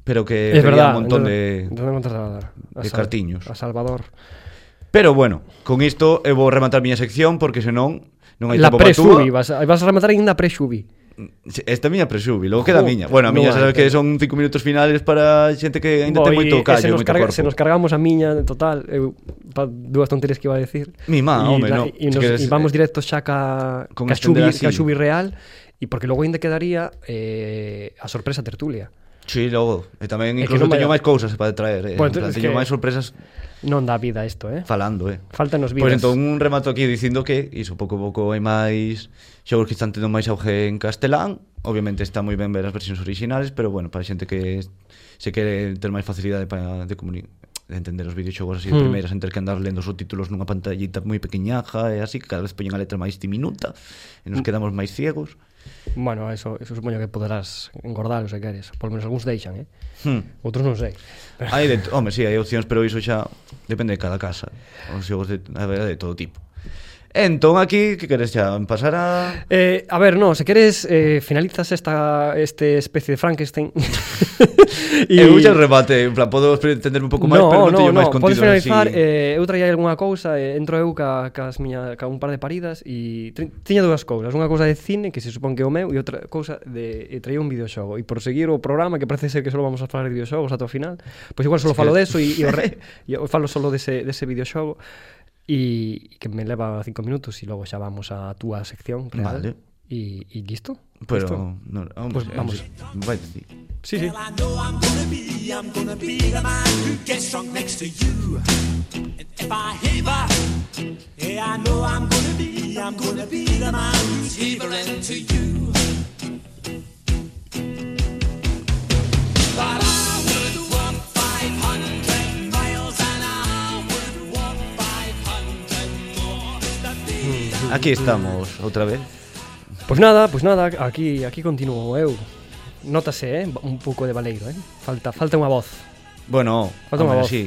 pero que es pedía verdad. Eh, un montón de entonces vamos a Salvador. A de Sal- cartiños. A Salvador. Pero bueno, con isto eu vou rematar miña sección porque senón non hai La tempo para túa. pre-Xubi, vas, a- vas a rematar ainda a pre-Xubi. Esta é miña pre-xubi, logo queda a miña. Bueno, a no miña sabes que antes. son 5 minutos finales para xente que ainda ten Boi, moito e eh, se, callo, nos moito carga, corpo. se nos cargamos a miña, en total, eu, pa, dúas tonterías que iba a decir. Mi má, E home, la- no. E, Se nos, queres, e vamos eh, directo xa ca, con ca, estender xubi, así. ca xubi real, e porque logo ainda quedaría eh, a sorpresa tertulia. Sí, logo. E tamén É que incluso non vai teño dar. máis cousas para traer. Eh. Bueno, Bueno, plan, es teño que- máis sorpresas Non dá vida isto, eh? falando, eh. Faltanos vidas. Pois entón un remato aquí dicindo que iso pouco a pouco hai máis xogos que están tendo máis auge en castelán. Obviamente está moi ben ver as versións orixinales, pero bueno, para xente que se quere ter máis facilidade para de comuni- de entender os videoxogos así de Hmm. primeiras sen ter que andar lendo os subtítulos nunha pantallita moi pequeñaja e así que cada vez poñen a letra máis diminuta e Hmm. nos quedamos máis ciegos. Bueno, eso, eso supoño que poderás engordar, o se queres. Por menos algúns deixan, eh? Hmm. Outros non sei. Hai de, home, si, sí, hai opcións, pero iso xa depende de cada casa. Os xogos de, a verdade, de todo tipo. Entón aquí, que queres xa pasar a Eh, a ver, no, se queres eh, finalizas esta este especie de Frankenstein. E eu xa rebate, en plan, podo entenderme un pouco máis, pero non teño máis podes contido finalizar, así. eh, eu traía algunha cousa, eh, entro eu ca, cas miña, ca un par de paridas e tri- tiña dúas cousas, unha cousa de cine que se supón que é o meu e outra cousa de e traía un videoxogo e por seguir o programa que parece ser que só vamos a falar de videoxogos ata o final, pois igual só falo deso e, e, o re- e o falo só dese, dese videoxogo e e que me leva cinco minutos e logo xa vamos á túa sección real Vale. e, e listo? Pero, Listo? no, vamos, Pues vamos. Vai, sí. Sí, sí. I'm gonna be the man who gets drunk next to you. And if I heaver, yeah, I know I'm gonna be, I'm gonna be the man who's heavering to you. But I would walk 500 miles and I would walk 500 more. to be Aquí estamos, outra vez. Pois nada, pois nada, aquí aquí continuo eu. Nótase, eh, un pouco de baleiro, eh. Falta falta unha voz. Bueno, Falta home, unha voz. eh, sí.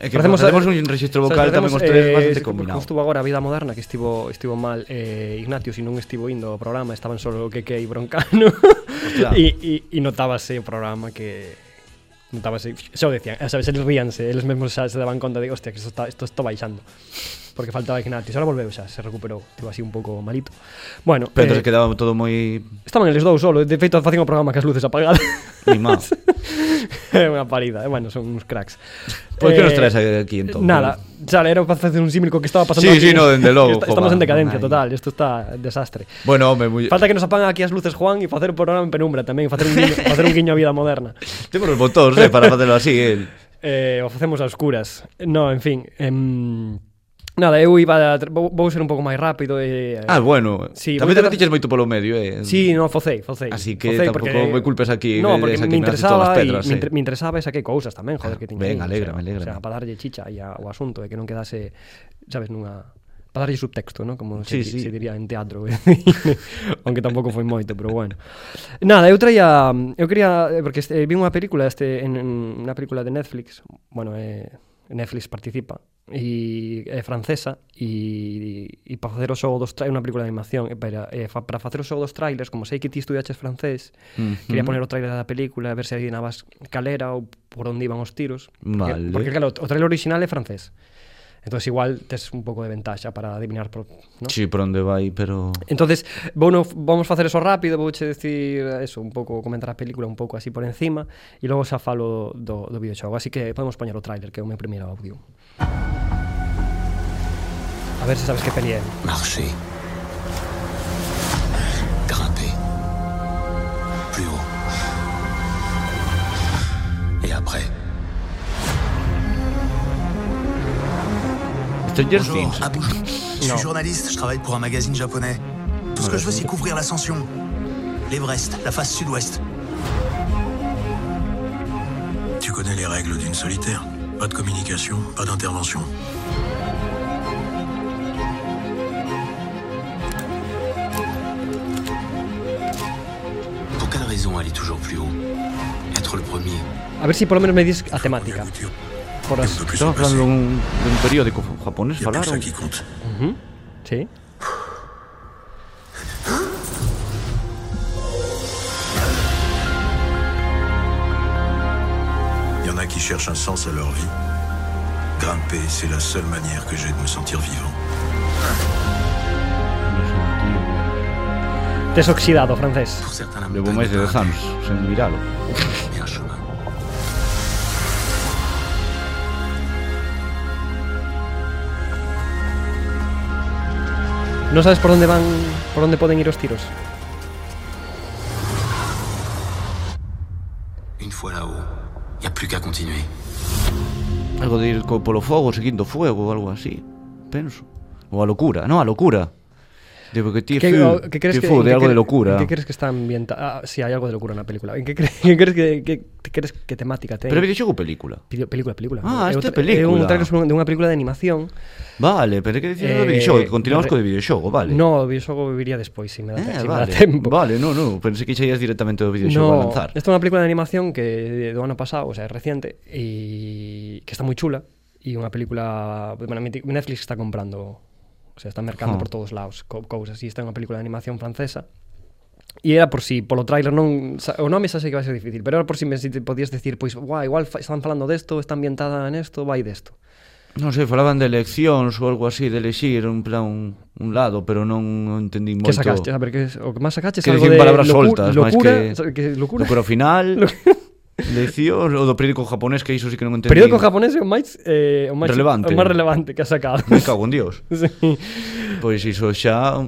É que facemos, facemos un registro vocal tamén os tres bastante combinado. Estuvo agora a vida moderna que estivo estivo mal eh, Ignacio, si non estivo indo ao programa, estaban solo que que e Broncano. E e e notábase o programa que notábase, xa o decían, sabes, eles ríanse, eles mesmos xa se daban conta de, hostia, que isto está isto está baixando. porque faltaba Ignatius. Ahora volveu, xa, se recuperou. Tivo así un pouco malito. Bueno, eh, Pero entonces quedaba todo moi Estaban eles dous solo, de feito facen o programa que as luces apagadas. limado. é unha parida, eh? bueno, son uns cracks. Eh, Pois que nos traes aquí entón? Nada, xa era para facer un símil co que estaba pasando Sí, sí, aquí. no, dende logo, Est- Estamos jova, en decadencia ai. total, isto está desastre. Bueno, home, moi... Falta que nos apagan aquí as luces Juan e facer o programa en penumbra tamén, facer un guiño, facer un guiño a vida moderna. Temos os botóns, eh, para facelo así, el. Eh, o facemos a oscuras. No, en fin, em, nada, eu iba a, tr- vou, vou ser un pouco máis rápido e eh, Ah, bueno. Sí, Tamén te moita- metiches moito polo medio, eh. Sí, no, focei, focei. Así que Focei tampouco me culpes aquí de- No, porque de me saquearme así todas interesaba as e pedras, eh. Ah, me, sí. inter- me interesaba e saquei cousas tamén, joder, que tiña. ben, aí, alégrame, o sea, alégrame. O sea, para darlle chicha aí ao asunto e que non quedase, sabes, nunha para darlle subtexto, ¿no? Como Sí, se, sí. se diría en teatro. eh. Aunque tampouco foi moito, pero bueno. Nada, eu traía eu quería eh, porque este, vi unha película este en, en unha película de Netflix, bueno, eh, Netflix participa e é francesa e, e para facer o xogo dos trailers, unha película de animación e para, eh, fa, para facer o xogo dos trailers como sei que ti estudiaches francés Mhm. quería poner o trailer da película a ver se adivinabas calera ou por onde iban os tiros porque, Vale. porque claro, o trailer original é francés entón igual tes un pouco de ventaxa para adivinar por, no? Sí, por onde vai, pero... Entonces, bueno, vamos facer eso rápido, vouche decir eso, un pouco comentar a película un pouco así por encima e logo xa falo do, do videoxogo, así que podemos poñer o tráiler que é o meu primeiro audio. A ver se sabes que peli é. Marcher. Grimper. Plus haut. Et après. Stranger Things. Ah, bonjour. Je suis journaliste, je travaille pour un magazine japonais. Tout ce que je veux, c'est couvrir l'ascension. L'Everest, la face sud-ouest. Tu connais les règles d'une solitaire. Pas de communication, pas d'intervention. Pour quelle raison aller toujours plus haut Être le premier. A ver se si polo menos me dis a temática. couture. Por as... On peut plus Estaba s'en passer. falando dun, dun periódico japonés, Y a plus que ça falaron. qui compte. Sí. Il y en a qui cherchent un sens à leur vie. Grimper, c'est la seule manière que j'ai de me sentir vivant. Tes oxidado, francés. Pour certains, la Levo montagne máis de n'est dez anos sen miralo. pas un chemin. Non sabes por onde van, por onde poden ir os tiros. Une fois là-haut, il n'y a plus qu'à continuer. Algo de ir co polo fogo, seguindo o fuego ou algo así, penso. Ou a locura, non, a locura. De porque ti Que, fu, o- que crees ti que, fu de en que algo de cre- locura. en Que crees que está ambientada? Ah, sí, hai algo de locura na película. En que, cre que crees que, que, que crees que temática ten? Pero videoxogo película. Pido- Película, película. Ah, esta É un tra- É película. un trailer sobre un- de unha película de animación. Vale, pero é que dicir Eh, do videoxogo, que continuamos re- co de videoxogo, vale. No, o videoxogo viría despois, se me dá, Eh, se me vale. dá tempo. Vale, no, no, pensei que cheias directamente do videoxogo a No, lanzar. esta é unha película de animación que do ano pasado, o sea, é reciente e que está moi chula e unha película, bueno, miti- Netflix está comprando, o sea, está mercando Jo. por todos lados co cousas e esta é unha película de animación francesa. E era por si, polo tráiler non sa- o nome xa sei que vai ser difícil, pero era por si me si te podías decir, pois, guau, igual fa- están falando desto, está ambientada nesto, vai desto. Non sei, falaban de eleccións ou algo así, de elexir un plan un, un lado, pero non entendí moito. Que sacaste? A ver, que, o que máis sacaste é Que algo dicen de palabras locu- soltas, máis locura, que- sa- que locura. Locura final. Lo- Decio, o do periódico japonés que iso sí que non entendí. Periódico japonés é o máis eh, o máis Relevante. o máis relevante que ha sacado. Me cago en Dios. sí. Pois iso xa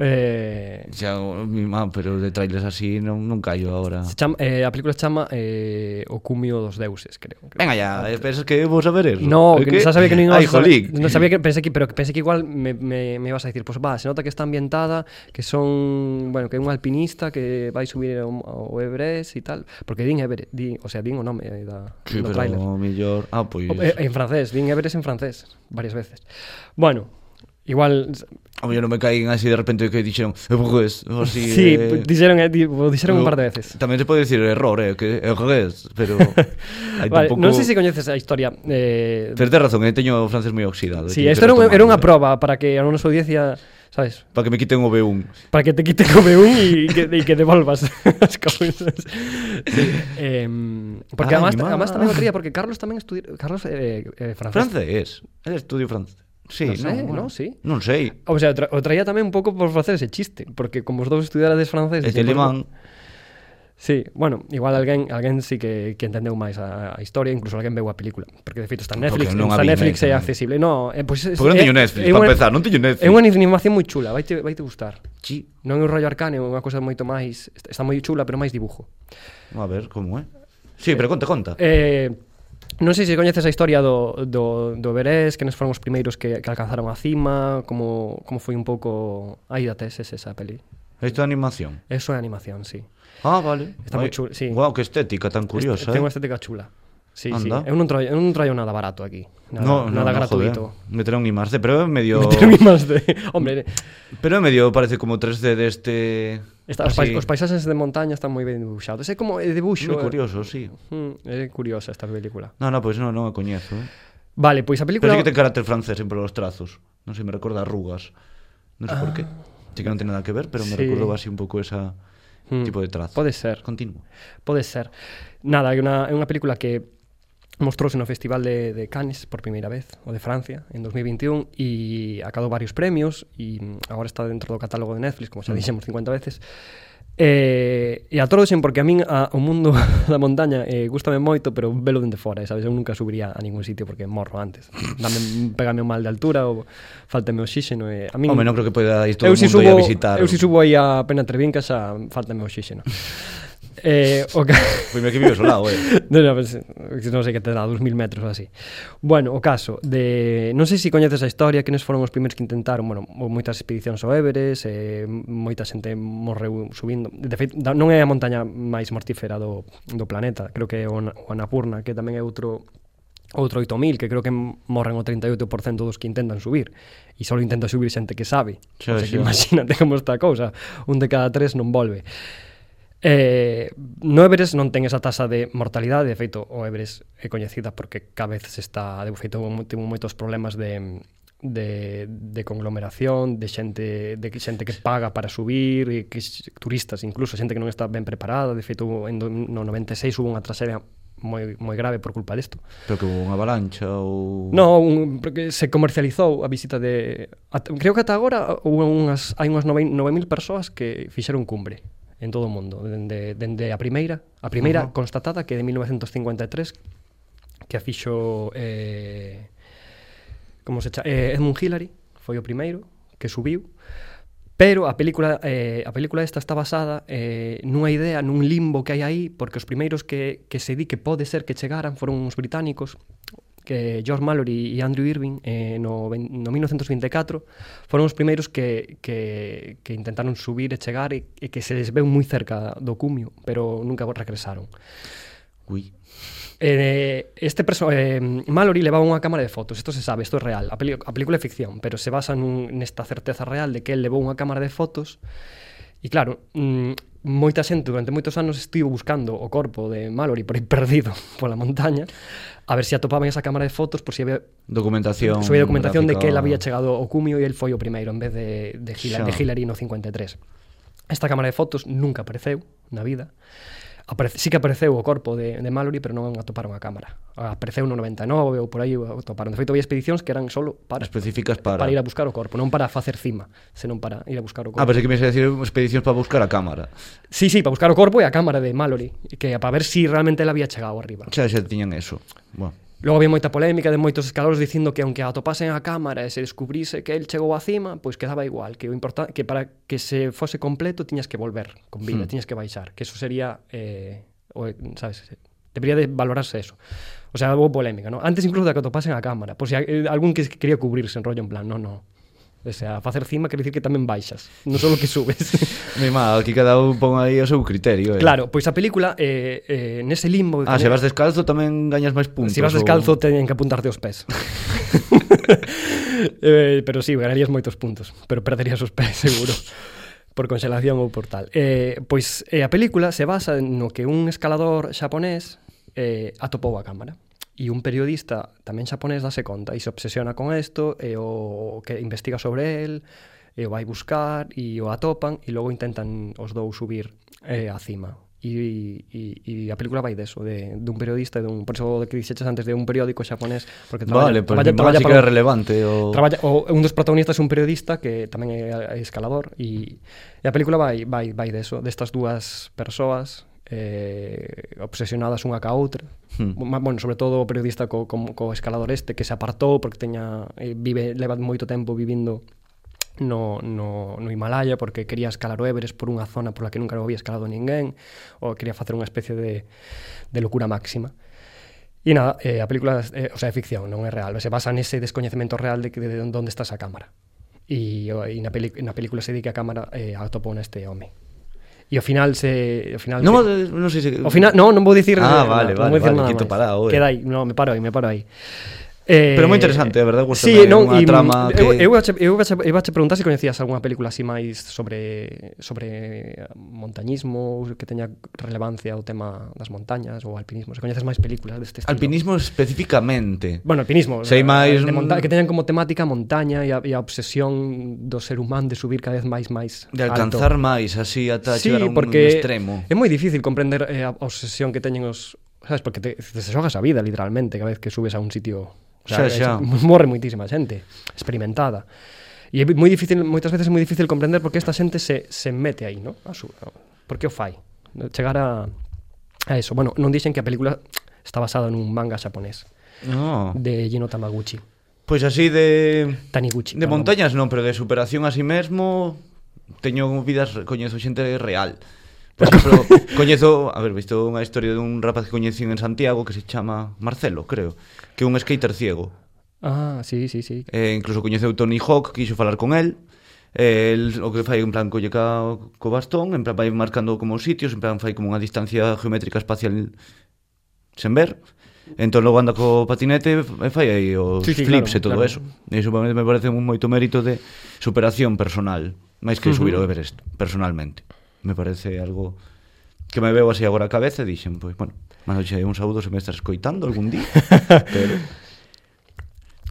Eh, xa mi má, pero de trailers así non non caio agora. se chama, eh, a película se chama eh, O cumio dos deuses, creo. Venga ya, eh, pensas que vou saber eso? No, É que, xa sabía que non Ai, jolín. No sabía que pensé que pero que pensé que igual me, me, me ibas a decir, pues va, se nota que está ambientada, que son, bueno, que é un alpinista que vai subir ao, ao Everest e tal, porque din Everest, din, o sea, din o nome eh, da Sí, do pero tráiler. mellor... Ah, pois... O- eh, En francés, din Everest en francés varias veces. Bueno, igual A mellor non me caín así de repente que dixeron... "Eh, Pues, ou así... sí, eh, dixeron, eh, di- o dixeron un eu- par de veces. Tamén se pode dicir error, eh, que errores, pero... Aí Vale, tampouco... non sei se coñeces a historia eh, Pero tes razón, eh, teño o francés moi oxidado. Sí, teño que esto era, un- era retomarlo, unha eh, proba para que a nosa audiencia, sabes, Para que me quiten o B1. para que te quite o B1 e que, e que devolvas as cousas. Sí. Em, Ay, porque además, ma. además tamén o quería porque Carlos tamén estudiou Carlos eh, eh, francés. Francés. El estudio francés. Sí, non sei, bueno. non, sí. Non sei. O sea, tra o traía tamén un pouco por facer ese chiste, porque como os dous estudiarades francés... E e tempo- Telemán, Sí, bueno, igual alguén alguén sí que, que entendeu máis a, a historia, incluso alguén veu a película, porque de feito está en Netflix, Porque non a está vi, en Netflix né, é tamén. accesible. No, eh, pois pues, Porque non teño Netflix, para empezar, non teño Netflix. É unha animación moi chula, vaite vaite gustar. chi, Non é un rollo arcane, é unha cousa moito máis, está está moi chula, pero máis dibujo. a ver como é. Sí, pero conta, conta. Eh, non sei se coñeces a historia do, do, do Everest, que nos foron os primeiros que, que alcanzaron a cima, como, como foi un pouco... Aí da teses esa peli. Isto é animación. Eso é animación, sí. Ah, vale. Está moi chulo, sí. Guau, que estética tan curiosa. Este, eh. Ten unha estética chula. Sí, Anda. sí. Eu non traio, eu non traio nada barato aquí. Nada, nada gratuito. Joder. Meterá un imaxe, pero é medio Meter un imax de... Hombre, Pero é medio parece como 3D deste está, os, pais, así. os eh. paisaxes de montaña están moi ben dibuxados. É como é dibuxo. Moi curioso, sí. É, mm, é curiosa esta película. No, no, pois non, non a coñezo. eh. Vale, pois a Pero sí película... que ten carácter francés sempre os trazos. Non sei, me recorda arrugas. Non sei por qué. Sí que non ten nada que ver, pero me Ah. Sí. recordou así un pouco esa Mm. tipo de trazo. Pode ser. Continuo. Pode ser. Nada, é unha, é unha película que mostrouse no Festival de, de Cannes por primeira vez, o de Francia, en 2021, e acadou varios premios, e mm, agora está dentro do catálogo de Netflix, como xa dixemos 50 veces. Eh, e atróxen porque a min a, o mundo da montaña eh, gustame moito, pero velo dende fora, eh, sabes? Eu nunca subiría a ningún sitio porque morro antes. Dame, pégame un mal de altura ou faltame oxígeno. Eh, a min, Home, non creo que poida ir todo o eu mundo si subo, subo, a visitar. Eu si subo aí a Pena Trevinca xa faltame oxígeno. eh, o ca... Pois que vivo solado, eh. Non, non, pues, non sei que te dá 2000 metros ou así. Bueno, o caso de non sei se coñeces a historia, que nos foron os primeiros que intentaron, bueno, houbo moitas expedicións ao Everest, eh, moita xente morreu subindo. De feito, da- non é a montaña máis mortífera do, do planeta, creo que é o, Na- o Annapurna, que tamén é outro outro 8000, que creo que morren o 38% dos que intentan subir, e só intenta subir xente que sabe. Xa, o sea, xa. que imagínate como está a cousa, un de cada tres non volve. Eh, no Everest non ten esa tasa de mortalidade, de feito o Everest é coñecida porque cada vez se está, de feito mo- tivo moitos problemas de de, de conglomeración, de xente de que- xente que paga para subir, e que x- turistas incluso, xente que non está ben preparada, de feito hubo- en do- no 96 hubo unha traxedia moi moi grave por culpa desto. Pero que hubo unha avalancha ou No, un, porque se comercializou a visita de at, creo que ata agora hubo unhas hai unhas 9 9000 persoas que fixeron cumbre en todo o mundo, dende dende a primeira, a primeira uh -huh. constatada que é de 1953 que a fixo eh como se cha, eh, Edmund Hillary, foi o primeiro que subiu. Pero a película eh, a película esta está basada eh, nunha idea, nun limbo que hai aí, porque os primeiros que, que se di que pode ser que chegaran foron uns británicos, que George Mallory e Andrew Irving eh, no, ven- no 1924 foron os primeiros que, que, que intentaron subir e chegar e, e que se les veu moi cerca do cumio, pero nunca regresaron. Ui. Eh, este perso eh, Mallory levaba unha cámara de fotos, isto se sabe, isto é real. A, peli a película é ficción, pero se basa nun, nesta certeza real de que el levou unha cámara de fotos E claro, mm, moita xente durante moitos anos estivo buscando o corpo de Mallory por aí perdido pola montaña a ver se atopaban esa cámara de fotos por si había Documentación. subía documentación de gráfica. que él había chegado ao cumio e el foi o primeiro en vez de, de, Xa. Hila, de Hillary no 53. Esta cámara de fotos nunca apareceu na vida. Aparece, sí que apareceu o corpo de, de Mallory, pero non atoparon a cámara. Apareceu no 99 ou por aí o atoparon. De feito, había expedicións que eran solo para, específicas para. para ir a buscar o corpo, non para facer cima, senón para ir a buscar o corpo. Ah, pensei que me ibas a decir expedicións para buscar a cámara. Sí, sí, para buscar o corpo e a cámara de Mallory, que para ver si realmente ela había chegado arriba. Xa xa tiñan eso. Bueno. Logo había moita polémica de moitos escaladores dicindo que aunque atopasen a cámara e se descubriese que el chegou á cima, pois quedaba igual, que o importan que para que se fose completo tiñas que volver con vida, Hmm. tiñas que baixar, que eso sería eh, o, sabes, debería de valorarse eso. O sea, algo polémica, ¿no? Antes incluso de que atopasen a cámara, por si a- eh, algún que quería cubrirse en rollo en plan, no, no. O sea, facer cima quer dicir que tamén baixas, non solo que subes. Mi má, aquí cada un pon aí o seu criterio. Eh. Claro, pois a película eh, eh, nese limbo que Ah, se tenía- vas descalzo tamén gañas máis puntos. se vas ou- descalzo teñen que apuntarte os pés eh, Pero sí, ganarías moitos puntos Pero perderías os pés, seguro Por conxelación ou por tal eh, Pois eh, a película se basa no que un escalador xaponés eh, atopou a cámara E un periodista tamén xaponés dase conta e se obsesiona con isto e o que investiga sobre el e o vai buscar e o atopan e logo intentan os dous subir eh, a cima E, e, e a película vai deso, de, de un periodista, e dun, por iso que dixeches antes de un periódico xaponés, porque traballa, Vale, pois traballa, igual traballa sí que é para un- relevante o- Traballa, o, un dos protagonistas é un periodista que tamén é escalador e, e a película vai, vai, vai deso, destas dúas persoas eh, obsesionadas unha ca outra Hmm. Ma- bueno, sobre todo o periodista co, co, co escalador este que se apartou porque teña eh, vive leva moito tempo vivindo no, no, no Himalaya porque quería escalar o Everest por unha zona por la que nunca o había escalado ninguén ou quería facer unha especie de, de locura máxima E nada, eh, a película eh, o sea, é ficción, non é real Se basa nese descoñecemento real de, que- de onde está esa cámara E, o- e na, peli, na película se di que a cámara eh, atopou neste home E ao final se... Ao final Non, se- eh, non sei se... Ao final, no, non vou dicir Ah, eh, vale, non vale, vou dicir vale, nada quito máis. parado, eh. Queda aí, no, me paro aí, me paro aí. Eh, Pero moi interesante, a verdade, gustame, sí, non, unha eh, e, trama eu, que- eu, vache- eu, vache- eu vache preguntar se coñecías algunha película así máis sobre sobre montañismo ou que teña relevancia o tema das montañas ou alpinismo. Se coñeces máis películas deste estilo. Alpinismo especificamente. Bueno, alpinismo. Sei eh, máis- de monta- que teñan como temática a montaña e a, e a obsesión do ser humano de subir cada vez máis máis de alto. alcanzar máis así ata Sí, chegar a un porque extremo. é moi difícil comprender eh, a obsesión que teñen os, sabes, porque te, te xogas a vida literalmente cada vez que subes a un sitio, o sea, Xa, xa. es- morre moitísima xente experimentada. E é moi difícil, moitas veces é moi difícil comprender por que esta xente se, se mete aí, ¿no? A su, por que o fai? Chegar a, a eso. Bueno, non dixen que a película está basada nun manga xaponés No. de Gino Tamaguchi. Pois así de Taniguchi. de perdón. montañas non, pero de superación a si sí mesmo teño vidas coñezo xente real. Por exemplo, coñezo, a ver, visto unha historia dun rapaz que coñecín en Santiago que se chama Marcelo, creo, que é un skater ciego. Ah, sí, sí, sí. Eh, incluso coñeceu Tony Hawk, quixo falar con el. Eh, el o que fai en plan colle ca, co bastón, en plan vai marcando como os sitios, en plan fai como unha distancia geométrica espacial sen ver. Entón logo anda co patinete e fai aí os Sí, sí, sí, sí, flips claro, e todo claro. eso. E iso para mí me parece un moito mérito de superación personal, máis que subir o Everest, personalmente. Me parece algo que me veo así agora a cabeza e dixen, pois, bueno, manoche un saúdo se me estás escoitando algún día. pero...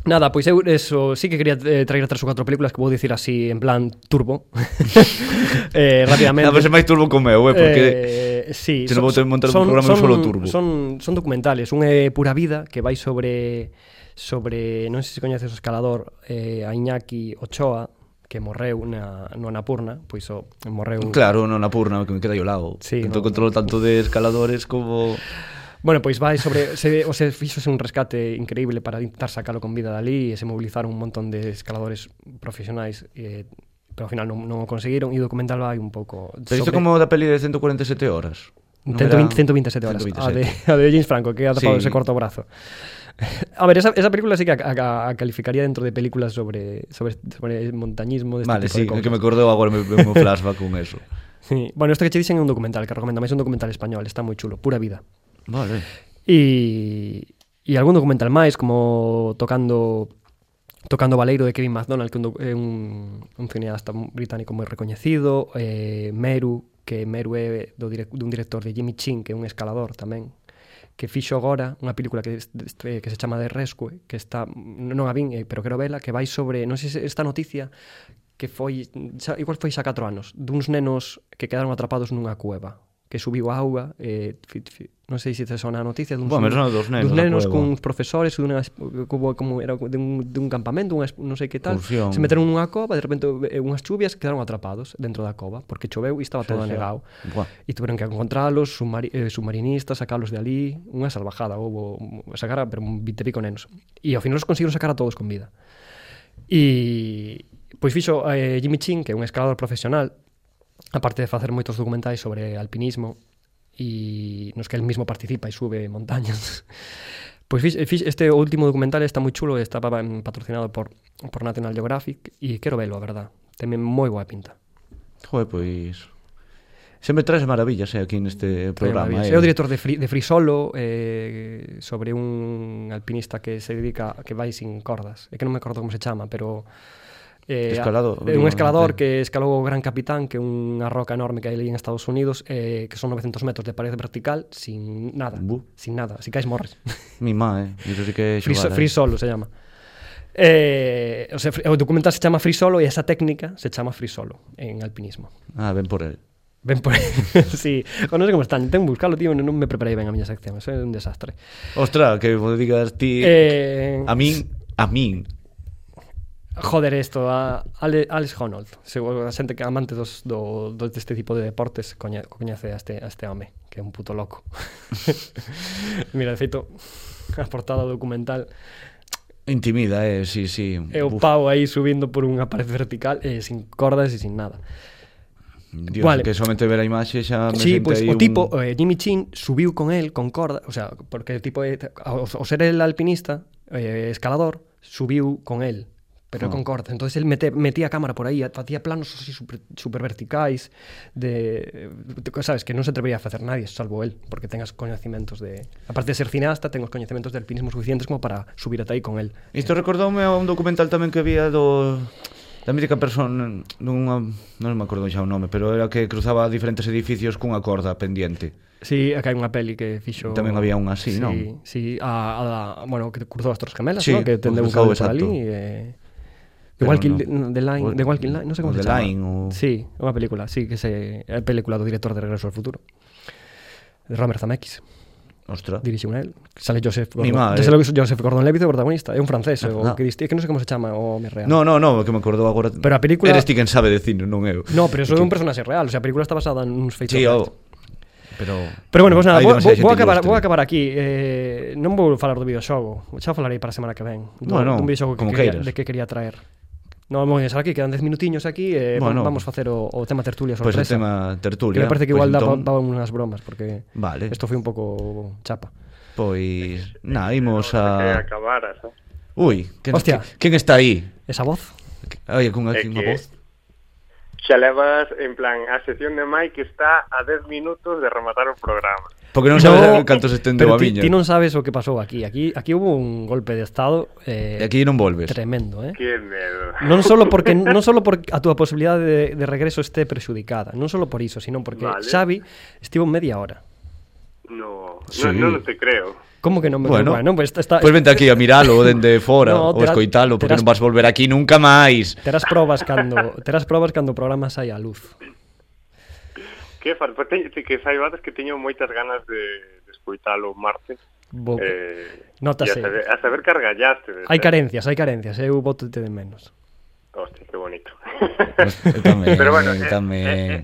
Nada, pois eu eso, sí que quería eh, traer tres ou catro películas que vou dicir así en plan turbo. eh, Nada, rapidamente. pero é máis turbo co meu, eh, porque... eh, sí, se non vou ter montar un programa son, solo turbo. Son, son documentales, un é Pura Vida que vai sobre sobre, non sei se coñeces o escalador eh, a Iñaki Ochoa que morreu na, no Anapurna pois o, morreu Claro, non na purna, que me queda aí ao lado. Sí, Sí, Entón no, controlo tanto de escaladores como... Bueno, pois vai sobre se o se fíxose un rescate increíble para intentar sacalo con vida dali e se mobilizaron un montón de escaladores profesionais eh, pero ao final non, non o conseguiron e o documental vai un pouco Pero isto como da peli de 147 horas. Non 120, era- 127 horas. 127. A, de, a de James Franco, que ha tapado Sí. ese corto brazo. A ver, esa, esa película sí que a, a- a calificaría dentro de películas sobre, sobre, sobre el montañismo. De este Vale, tipo sí, de é cosas. que me acordeu agora me, me flashback con eso. Sí. Bueno, esto que te dicen es un documental, que recomendáis, es un documental español, está muy chulo, pura vida. Vale. E, e algún documental máis como tocando tocando Valeiro de Kevin MacDonald que é un, doc- é un, un cineasta mu- británico moi recoñecido eh, Meru que Meru é do direc dun director de Jimmy Chin que é un escalador tamén que fixo agora unha película que, est- est- eh, que se chama The Rescue que está, non a vin, eh, pero quero vela que vai sobre, non sei se esta notixa que foi, xa, igual foi xa 4 anos duns nenos que quedaron atrapados nunha cueva que subiu a auga eh, fi, fi, non sei se te sona a noticia dun Bom, me sona dos nenos Dos na nenos cueva. cuns profesores dunha, es- como, como era dun, dun campamento, unha, es- non sei que tal, Excursión. se meteron nunha cova, de repente eh, unhas chuvias quedaron atrapados dentro da cova, porque choveu e estaba todo xa. anegado. Buah. E tuveron que encontralos, submari eh, submarinistas, sacalos de ali, unha salvajada, houbo sacar a pero un 20 pico nenos. E ao final os conseguiron sacar a todos con vida. E pois fixo eh, Jimmy Chin, que é un escalador profesional, aparte de facer moitos documentais sobre alpinismo e nos que el mismo participa e sube montañas. Pois fix, fix, este último documental está moi chulo, está pa- em, patrocinado por, por National Geographic e quero velo, a verdad. Teme moi boa pinta. Joder, pues, pois... Sempre traes maravillas eh, aquí neste programa. Maravillas. Eh. É o director de Free, de Free Solo eh, sobre un alpinista que se dedica que vai sin cordas. É que non me acordo como se chama, pero eh, Escalado, é un digo, escalador sí. que escalou o Gran Capitán, que é unha roca enorme que hai ali en Estados Unidos, eh, que son 900 metros de parede vertical sin nada, Bu. sin nada, si caes morres. Mi má, eh. Iso sí que é Free, so- xogada, eh. free Solo se llama. Eh, o, sea, fr- o documental se chama Free Solo e esa técnica se chama Free Solo en alpinismo. Ah, ben por el. Ven por sí, o non sei como están, ten que buscarlo, tío, non me preparei ben a miña sección, eso é un desastre. Ostra, que vos digas ti... Eh, A min, a min. Joder, esto a Ale, Alex Honnold, seguro a xente que amante dos, do, do deste tipo de deportes coña, coñece a este, a este home, que é un puto loco. Mira, de feito, a portada do documental Intimida, eh, sí, sí. é o Uf, pau aí subindo por unha pared vertical e sin cordas e sin nada. Dios, Vale. que somente ver a imaxe xa me Sí, sente aí pois pues, o un- tipo, eh, Jimmy Chin subiu con el con corda, o sea, porque tipo é ao, ao ser el alpinista, eh, escalador, subiu con el, Ah. pero con corda. Entonces el mete, metía a cámara por aí, facía planos así super, super verticais de, de co- sabes, que non se atrevía a facer nadie salvo el, porque ten os coñecementos de, aparte de ser cineasta, ten os coñecementos de alpinismo suficientes como para subir ata aí con el. Isto recordoume a un documental tamén que había do da mítica persona dunha, non me acordo xa o nome, pero era que cruzaba diferentes edificios cunha corda pendiente. Sí, acá hai unha peli que fixo Tamén había unha así, sí, non? Sí, a, a, bueno, que cruzou as Torres Gemelas, Sí, non? Que tendeu un cruzou, cable por exacto. ali e The Pero Walking, no. the line, O- the Walking Line, non sei como o se The chama. Line, o- Sí, é unha película, sí, que se é película do director de Regreso ao Futuro. De Robert Zemeckis, Ostra. dirixe unha el. Sale Joseph Ni Gordon. madre. Joseph, Joseph Gordon-Levitt é o protagonista, é un francés, é o Ah. que diste, é que non sei como se chama o home real. No, no, no, que me acordou agora. Pero a película- Eres ti quen sabe de cine, non eu. No, pero eso é un personaje real, o sea, a película está basada en uns feitos Sí, o... reales. Pero Pero bueno, pues nada, Hai vou, demasiada vou, vou, xente acabar, ilustre. vou acabar aquí eh, Non vou falar do videoxogo Xa falarei para a semana que ven do, Bueno, Dun videoxogo que como quería, queiras. de que quería traer Non vou deixar aquí, quedan 10 minutiños aquí eh, bueno, Bueno. Vamos facer o, o tema tertulia Pois o sorpresa tema tertulia. Que me parece que pois igual entón, entón... daban unhas bromas Porque Vale. isto foi un pouco chapa Pois, na, imos a... Ah. Que acabaras, eh? Ui, quen, Hostia. quen está aí? Esa voz Ai, cunha, É cunha que- voz. Xa levas, en plan, a sección de Mike está a 10 minutos de rematar o programa. Porque non sabes no, canto se estendeu a Pero ti, miña. ti non sabes o que pasou aquí Aquí, aquí hubo un golpe de estado eh, E aquí non volves. Tremendo, eh Que medo. Non solo porque non solo porque a túa posibilidade de, de regreso esté prexudicada, non solo por iso, sino porque vale. Vale. Xavi estivo media hora. No, Sí. no, non te creo. Como que non me Bueno, bueno pues está, Pois vente aquí a miralo dende fora no, No, ou terás- escoitalo, porque terás- non vas volver aquí nunca máis. Terás probas cando terás probas cando o programa sai á luz. Que far... Pois teño- te- que sai batas que teño moitas ganas de, de escoitalo o martes. Bo, eh, Eh, Nótase. e A saber, a saber cargallaste. de hai ser. carencias, hai carencias, eu voto de menos. Hostia, qué bonito. Eu tamén, Pero bueno, eu eh, tamén. eh, eh,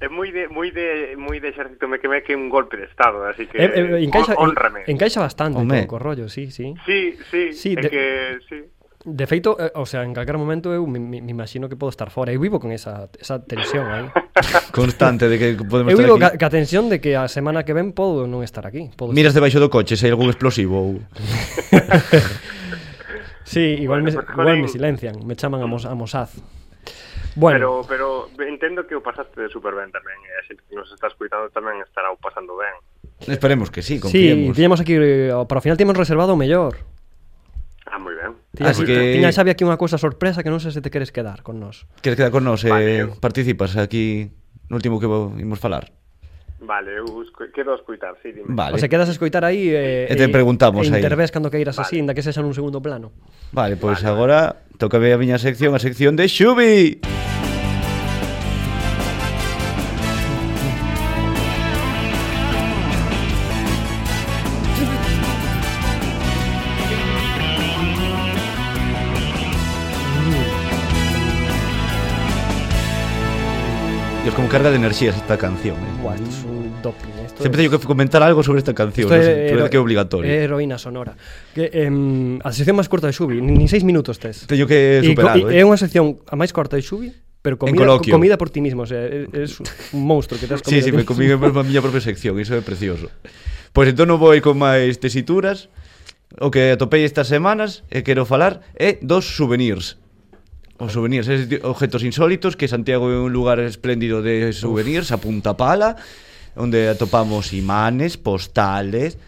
É moi de moi de moi de exército me queme que é un golpe de estado, así que Eh, eh, encaixa, en- honrame. encaixa bastante Home. Home. co rollo, sí, sí. Sí, Sí, sí, sí de- de... que sí. De feito, eh, o sea, en calquer momento eu me, me, me imagino que podo estar fora. Eu vivo con esa, esa tensión aí. Constante de que podemos Eu vivo estar aquí. ca, ca tensión de que a semana que ven podo non estar aquí. Podo Miras debaixo do coche se hai algún explosivo ou... Sí, igual, Bueno, me, pues, igual jolín. me silencian, me chaman a, Mos, a Mossad. Bueno, Pero pero entendo que o pasaste de super ben tamén, e a xente que nos está escuitando tamén estará o pasando ben. Esperemos que sí, sí, confiemos. tiñamos aquí, eh, para o final temos reservado o mellor. Ah, moi ben. Tiña, Así que- tiña Xavi aquí unha cousa sorpresa que non sei se te queres quedar con nós. Queres quedar con nós? Eh, Vale. participas aquí no último que vo- imos falar. Vale, eu escu- quedo a escuitar, sí, dime. Vale. Vale. O se quedas a escoitar aí eh, E te preguntamos e aí. intervés cando queiras así, inda que sexa nun segundo plano. Vale, pois agora toca ver a miña sección, a sección de Xubi. Dios, como carga de enerxías esta canción. Eh. Buah, isto é un doping, isto Sempre teño eh. que comentar algo sobre esta canción, Isto non é sei, hero- parece que é obligatorio. É heroína sonora. Que em, a sección máis corta de Xubi, nin 6 minutos tes. Teño que E co- superalo, e eh. É unha sección a máis corta de Xubi, pero comida, coloquio. comida por ti mismo, o sea, é- é- es un monstro que te has Sí, comido. sí, ti me comí a mismo. miña propia sección, iso é precioso. Pois entón non vou ir con máis tesituras. O que atopei estas semanas e quero falar é dos souvenirs. Os souvenirs, é objetos insólitos que Santiago é un lugar espléndido de souvenirs a punta pala onde atopamos imanes, postales,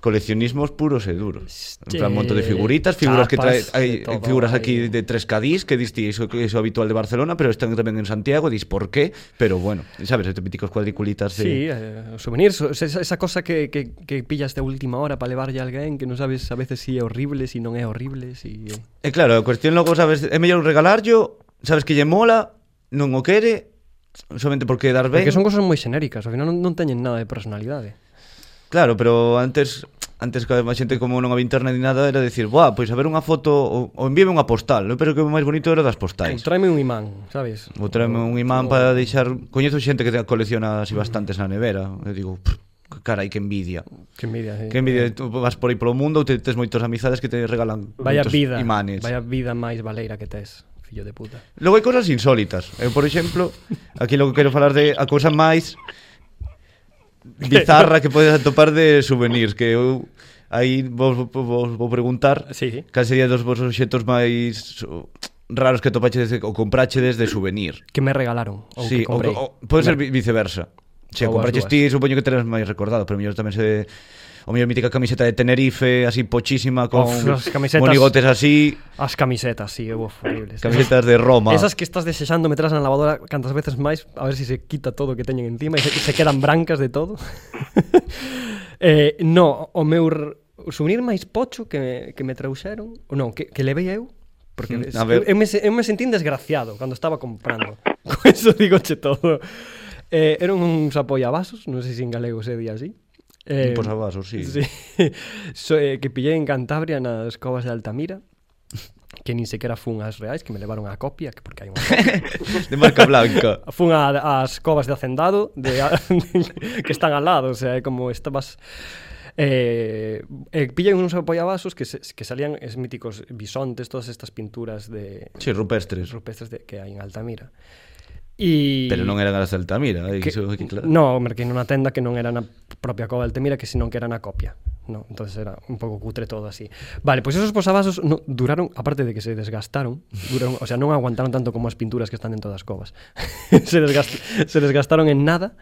coleccionismos puros e duros. En plan, Che, monto de figuritas, figuras que trae, chapas, hai de todo figuras hai. aquí de tres Cadís, que diste iso, que iso habitual de Barcelona, pero están tamén en Santiago, dis por qué, pero bueno, sabes, estes míticos cuadriculitas Sí, de... eh, os souvenirs, o- esa, esa cosa que, que, que pillas de última hora para levarlle a alguén que non sabes a veces si é horrible, si non é horrible, si... E claro, a cuestión logo, sabes, é mellor regalarlo, sabes que lle mola, non o quere, somente por quedar ben. Porque son cosas moi xenéricas, ao final non, non teñen nada de personalidade. Claro, pero antes antes que a xente como non había internet ni nada era decir, "Buah, pois a ver unha foto ou, ou envíame unha postal". Eu pero que o máis bonito era das Ou postais. tráeme un imán, sabes? Ou tráeme un imán para deixar, coñezo xente que te- colecciona así bastantes na nevera. Eu digo, "Pff, que carai, que envidia. Que envidia, sí. Que envidia, tú vas por aí polo mundo ou te tes moitos amizades que te regalan Vaya moitos vida, imanes. vaya vida máis valeira que tes, fillo de puta. Logo hai cousas insólitas. Eu, por exemplo, aquí logo quero falar de a cousa máis bizarra que podes atopar de souvenirs, que eu aí vos, vos vou preguntar sí. cal sería dos vos obxectos máis o, raros que topachedes ou comprachedes de souvenir. Que me regalaron ou sí, que comprei. O, o, pode ser vi- viceversa. Se a Ou as compraches dúas. ti, supoño que terás máis recordado, pero mellor tamén se o mellor mítica camiseta de Tenerife, así pochísima con Of, as camisetas- monigotes así, As camisetas, sí, uf, horribles. Camisetas de Roma. Esas que estás desexando meterlas na lavadora cantas veces máis, a ver se si se quita todo o que teñen encima e se, se quedan brancas de todo. eh, no, o meu r- o souvenir máis pocho que me, que me trouxeron, ou non, que, que levei eu, porque Mm, es- a ver. eu, eu, me, se- eu me sentín desgraciado cando estaba comprando. Con eso digoche todo. Eh, eran uns apoiavasos, non sei se en galego se di así. Eh, Un posavasos, sí. sí. so, eh, que pillei en Cantabria nas covas de Altamira que nin sequera fun ás reais, que me levaron a copia, que porque hai unha copia. De marca blanca. fun a- ás covas de Hacendado, de, a, que están al lado, o sea, é como estabas... Eh, eh, pillan uns apoiavasos que, se, que salían es míticos bisontes, todas estas pinturas de... Sí, rupestres. Rupestres de, que hai en Altamira. E... pero non eran as de Altamira, hai que, que, iso hai que claro. No, merquei nunha tenda que non era na propia cova de Altemira, que senón que era na copia. No, entonces era un pouco cutre todo así. Vale, pois pues esos posavasos no, duraron, aparte de que se desgastaron, duraron, o sea, non aguantaron tanto como as pinturas que están dentro das covas. se, desgast, se desgastaron en nada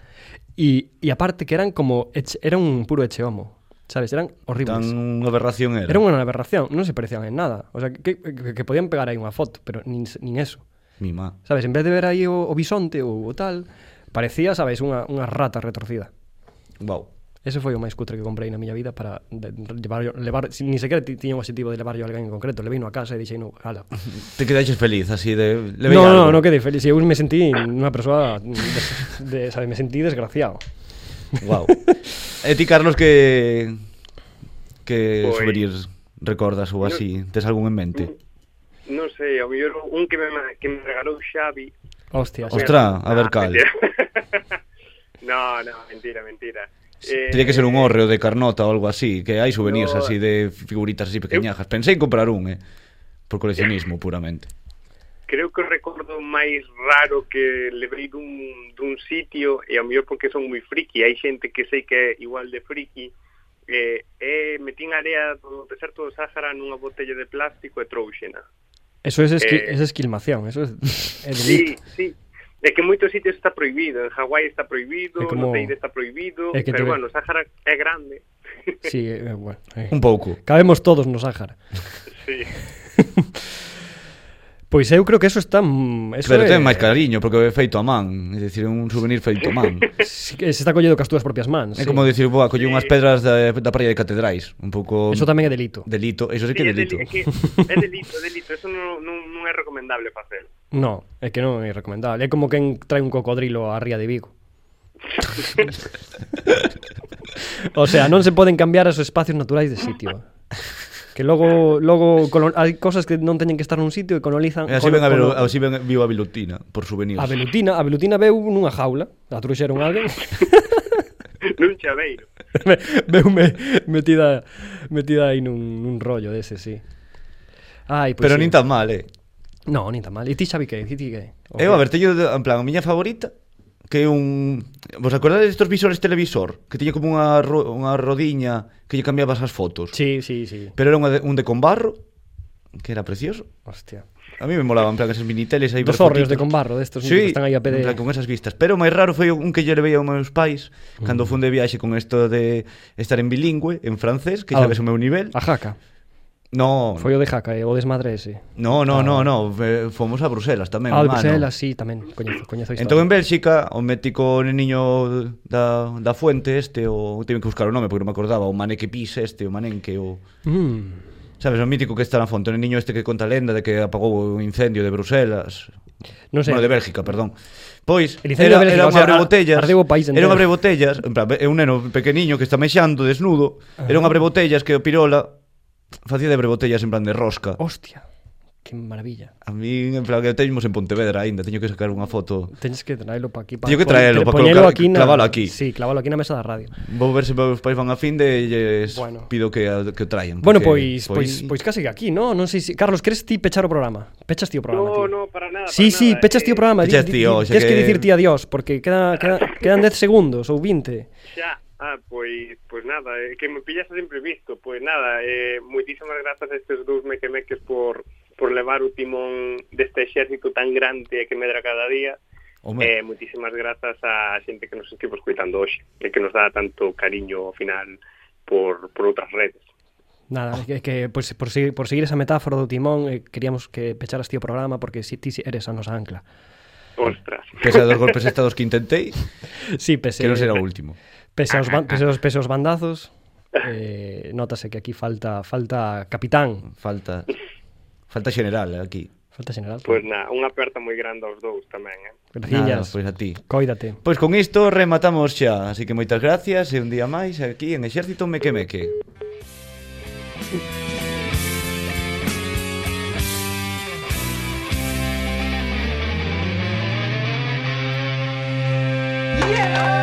e, e aparte que eran como eche, era un puro echeomo, sabes, eran horribles. Tan unha aberración era. Era unha aberración, non se parecían en nada. O sea, que, que, que podían pegar aí unha foto, pero nin, nin eso. Mi má. Sabes, en vez de ver aí o, o bisonte ou o tal, parecía, sabes, unha, unha rata retorcida. Wow. Ese foi o máis cutre que comprei na miña vida para de, levar, levar si, ni sequera ti- tiña o objetivo de levarlo a alguén en concreto. Leveino a casa e dixei, no, ala. Te quedaches feliz así de le no, veía no, algo. no quedei feliz. Eu me sentí unha persoa, de, de, sabes, me sentí desgraciado. Wow. e ti Carlos que que souvenirs recordas ou así, tes algún en mente? Non sei, ao mellor un que me, que me regalou Xavi. Ah, Hostia, Ostra, a ver cal. no, no, mentira, mentira. Eh, Tiene que ser un hórreo de carnota ou algo así, que hai souvenirs No. así de figuritas así pequeñajas. Pensei en comprar un, eh, por coleccionismo puramente. Creo que o recordo máis raro que levei dun, dun sitio e ao mellor porque son moi friki, hai xente que sei que é igual de friki eh, eh, metín area do deserto do Sáhara nunha botella de plástico e trouxena Eso es, esqui, Eh. es esquilmación, eso es, é delito. Sí, sí. É que en moitos sitios está prohibido, en Hawái está prohibido, É como- no Teide está prohibido, É que pero te- bueno, Sáhara é grande. Sí, eh, bueno, eh. Un pouco. Cabemos todos no Sáhara. Sí. Pois eu creo que eso está... mm, Eso Pero é- ten máis cariño porque é feito a man, é dicir, é un souvenir feito a man. Sí, que se está collendo cas túas propias mans. É como dicir, boa, colle unhas pedras da, da praia de Catedrais, un pouco Eso tamén é delito. delito, eso sí que é é, delito. deli- é, que é delito, é delito, eso non, non, non é recomendable facelo. No, é que non é recomendable. É como quen trae un cocodrilo á ría de Vigo. o sea, non se poden cambiar os espacios naturais de sitio. Que logo logo colon... hai cosas que non teñen que estar nun sitio e colonizan. E así colo- ven a Belu- colo- así ven viu a Vilutina por souvenirs. a velutina, a velutina veu nunha jaula, a truxeron alguén. Nun chaveiro. Ve- Veume metida metida aí nun, nun rollo dese, sí. Ai, pois Pero sí. nin tan mal, eh. No, nin tan mal. E ti Xavi que? E ti que? O Eu, a que- ver, teño de- en plan a miña favorita que é un Vos acordades destos visores televisor que tiña como unha ro... unha rodiña que lle cambiabas as fotos. Sí, sí, sí. Pero era unha de... un de con barro que era precioso. Hostia. A mí me molaban en plan esos miniteles aí ver Dos hórreos fotitos. de con barro, destos sí, que están aí a pé de- en plan, con esas vistas. Pero o máis raro foi un que lle levei aos meus pais mm. cando fun de viaxe con isto de estar en bilingüe, en francés, que xa Ah, ves o meu nivel. A jaca. No, Foi o de jaca, eh, o desmadre ese. no, no, no, no, eh, fomos a Bruselas tamén, Ah, o de mano. Bruselas, sí, tamén. Coñezo, coñezo a historia. Entón en Bélxica, o mítico niño da, da fuente este, o tive que buscar o nome porque non me acordaba, o Maneque Pis este, o Manenque, o... Mm. Sabes, o mítico que está na fonte, o niño este que conta a lenda de que apagou o incendio de Bruselas. Non sei. Bueno, de Bélgica, perdón. Pois, El incendio era, de Bélgica, era o un sea, abrebotellas. ardeu o país era un entero. abrebotellas, en plan, é un neno pequeniño que está mexando desnudo. Ajá. Era un abrebotellas que o Pirola facía de abrebotellas en plan de rosca. Hostia, que maravilla. A mí, en plan, que o teñimos en Pontevedra aínda, teño que sacar unha foto. Teñes que traelo pa aquí. Pa, Teño que pon- traelo, pa poñelo colocar- na- clavalo aquí. Sí, clavalo aquí na mesa da radio. Vou ver se meus pais van a fin de lles Bueno. pido que, a- que o traian. Bueno, porque, pois, pois, pois casi que aquí, ¿no? Non sei se... Carlos, queres ti pechar o programa? Pechas ti o programa, tío. No, no, para nada. Sí, para sí, nada, pechas ti o eh, programa. Pechas ti, o tío, sea tienes que... que- dicir ti adiós, porque queda, queda, quedan 10 segundos ou 20. Xa, ah, pois, pois nada, eh, que me pillas sempre visto, pois nada, eh, moitísimas grazas a estes dous mequemeques por por levar o timón deste exército tan grande que medra cada día. Home. Eh, moitísimas grazas a xente que nos estivo escuitando hoxe e que nos dá tanto cariño ao final por, por outras redes. Ah. Nada, é que, que pois, por, seguir, por seguir esa metáfora do timón, eh, queríamos que pecharas ti o programa porque si ti eres a nosa ancla. Ostras. Pese a dos golpes estados que intentei, Sí, pese... que non será o último. Pese aos, ban pese aos, pese aos bandazos, eh, notase que aquí falta falta capitán, Falta falta general aquí. falta general. Pois na, unha Pues aperta moi grande aos dous tamén, eh. Nada, Graciñas, pois a ti. coídate. Pois con isto rematamos xa, así que moitas gracias e un día máis aquí en Exército Meque Meque. Yeah!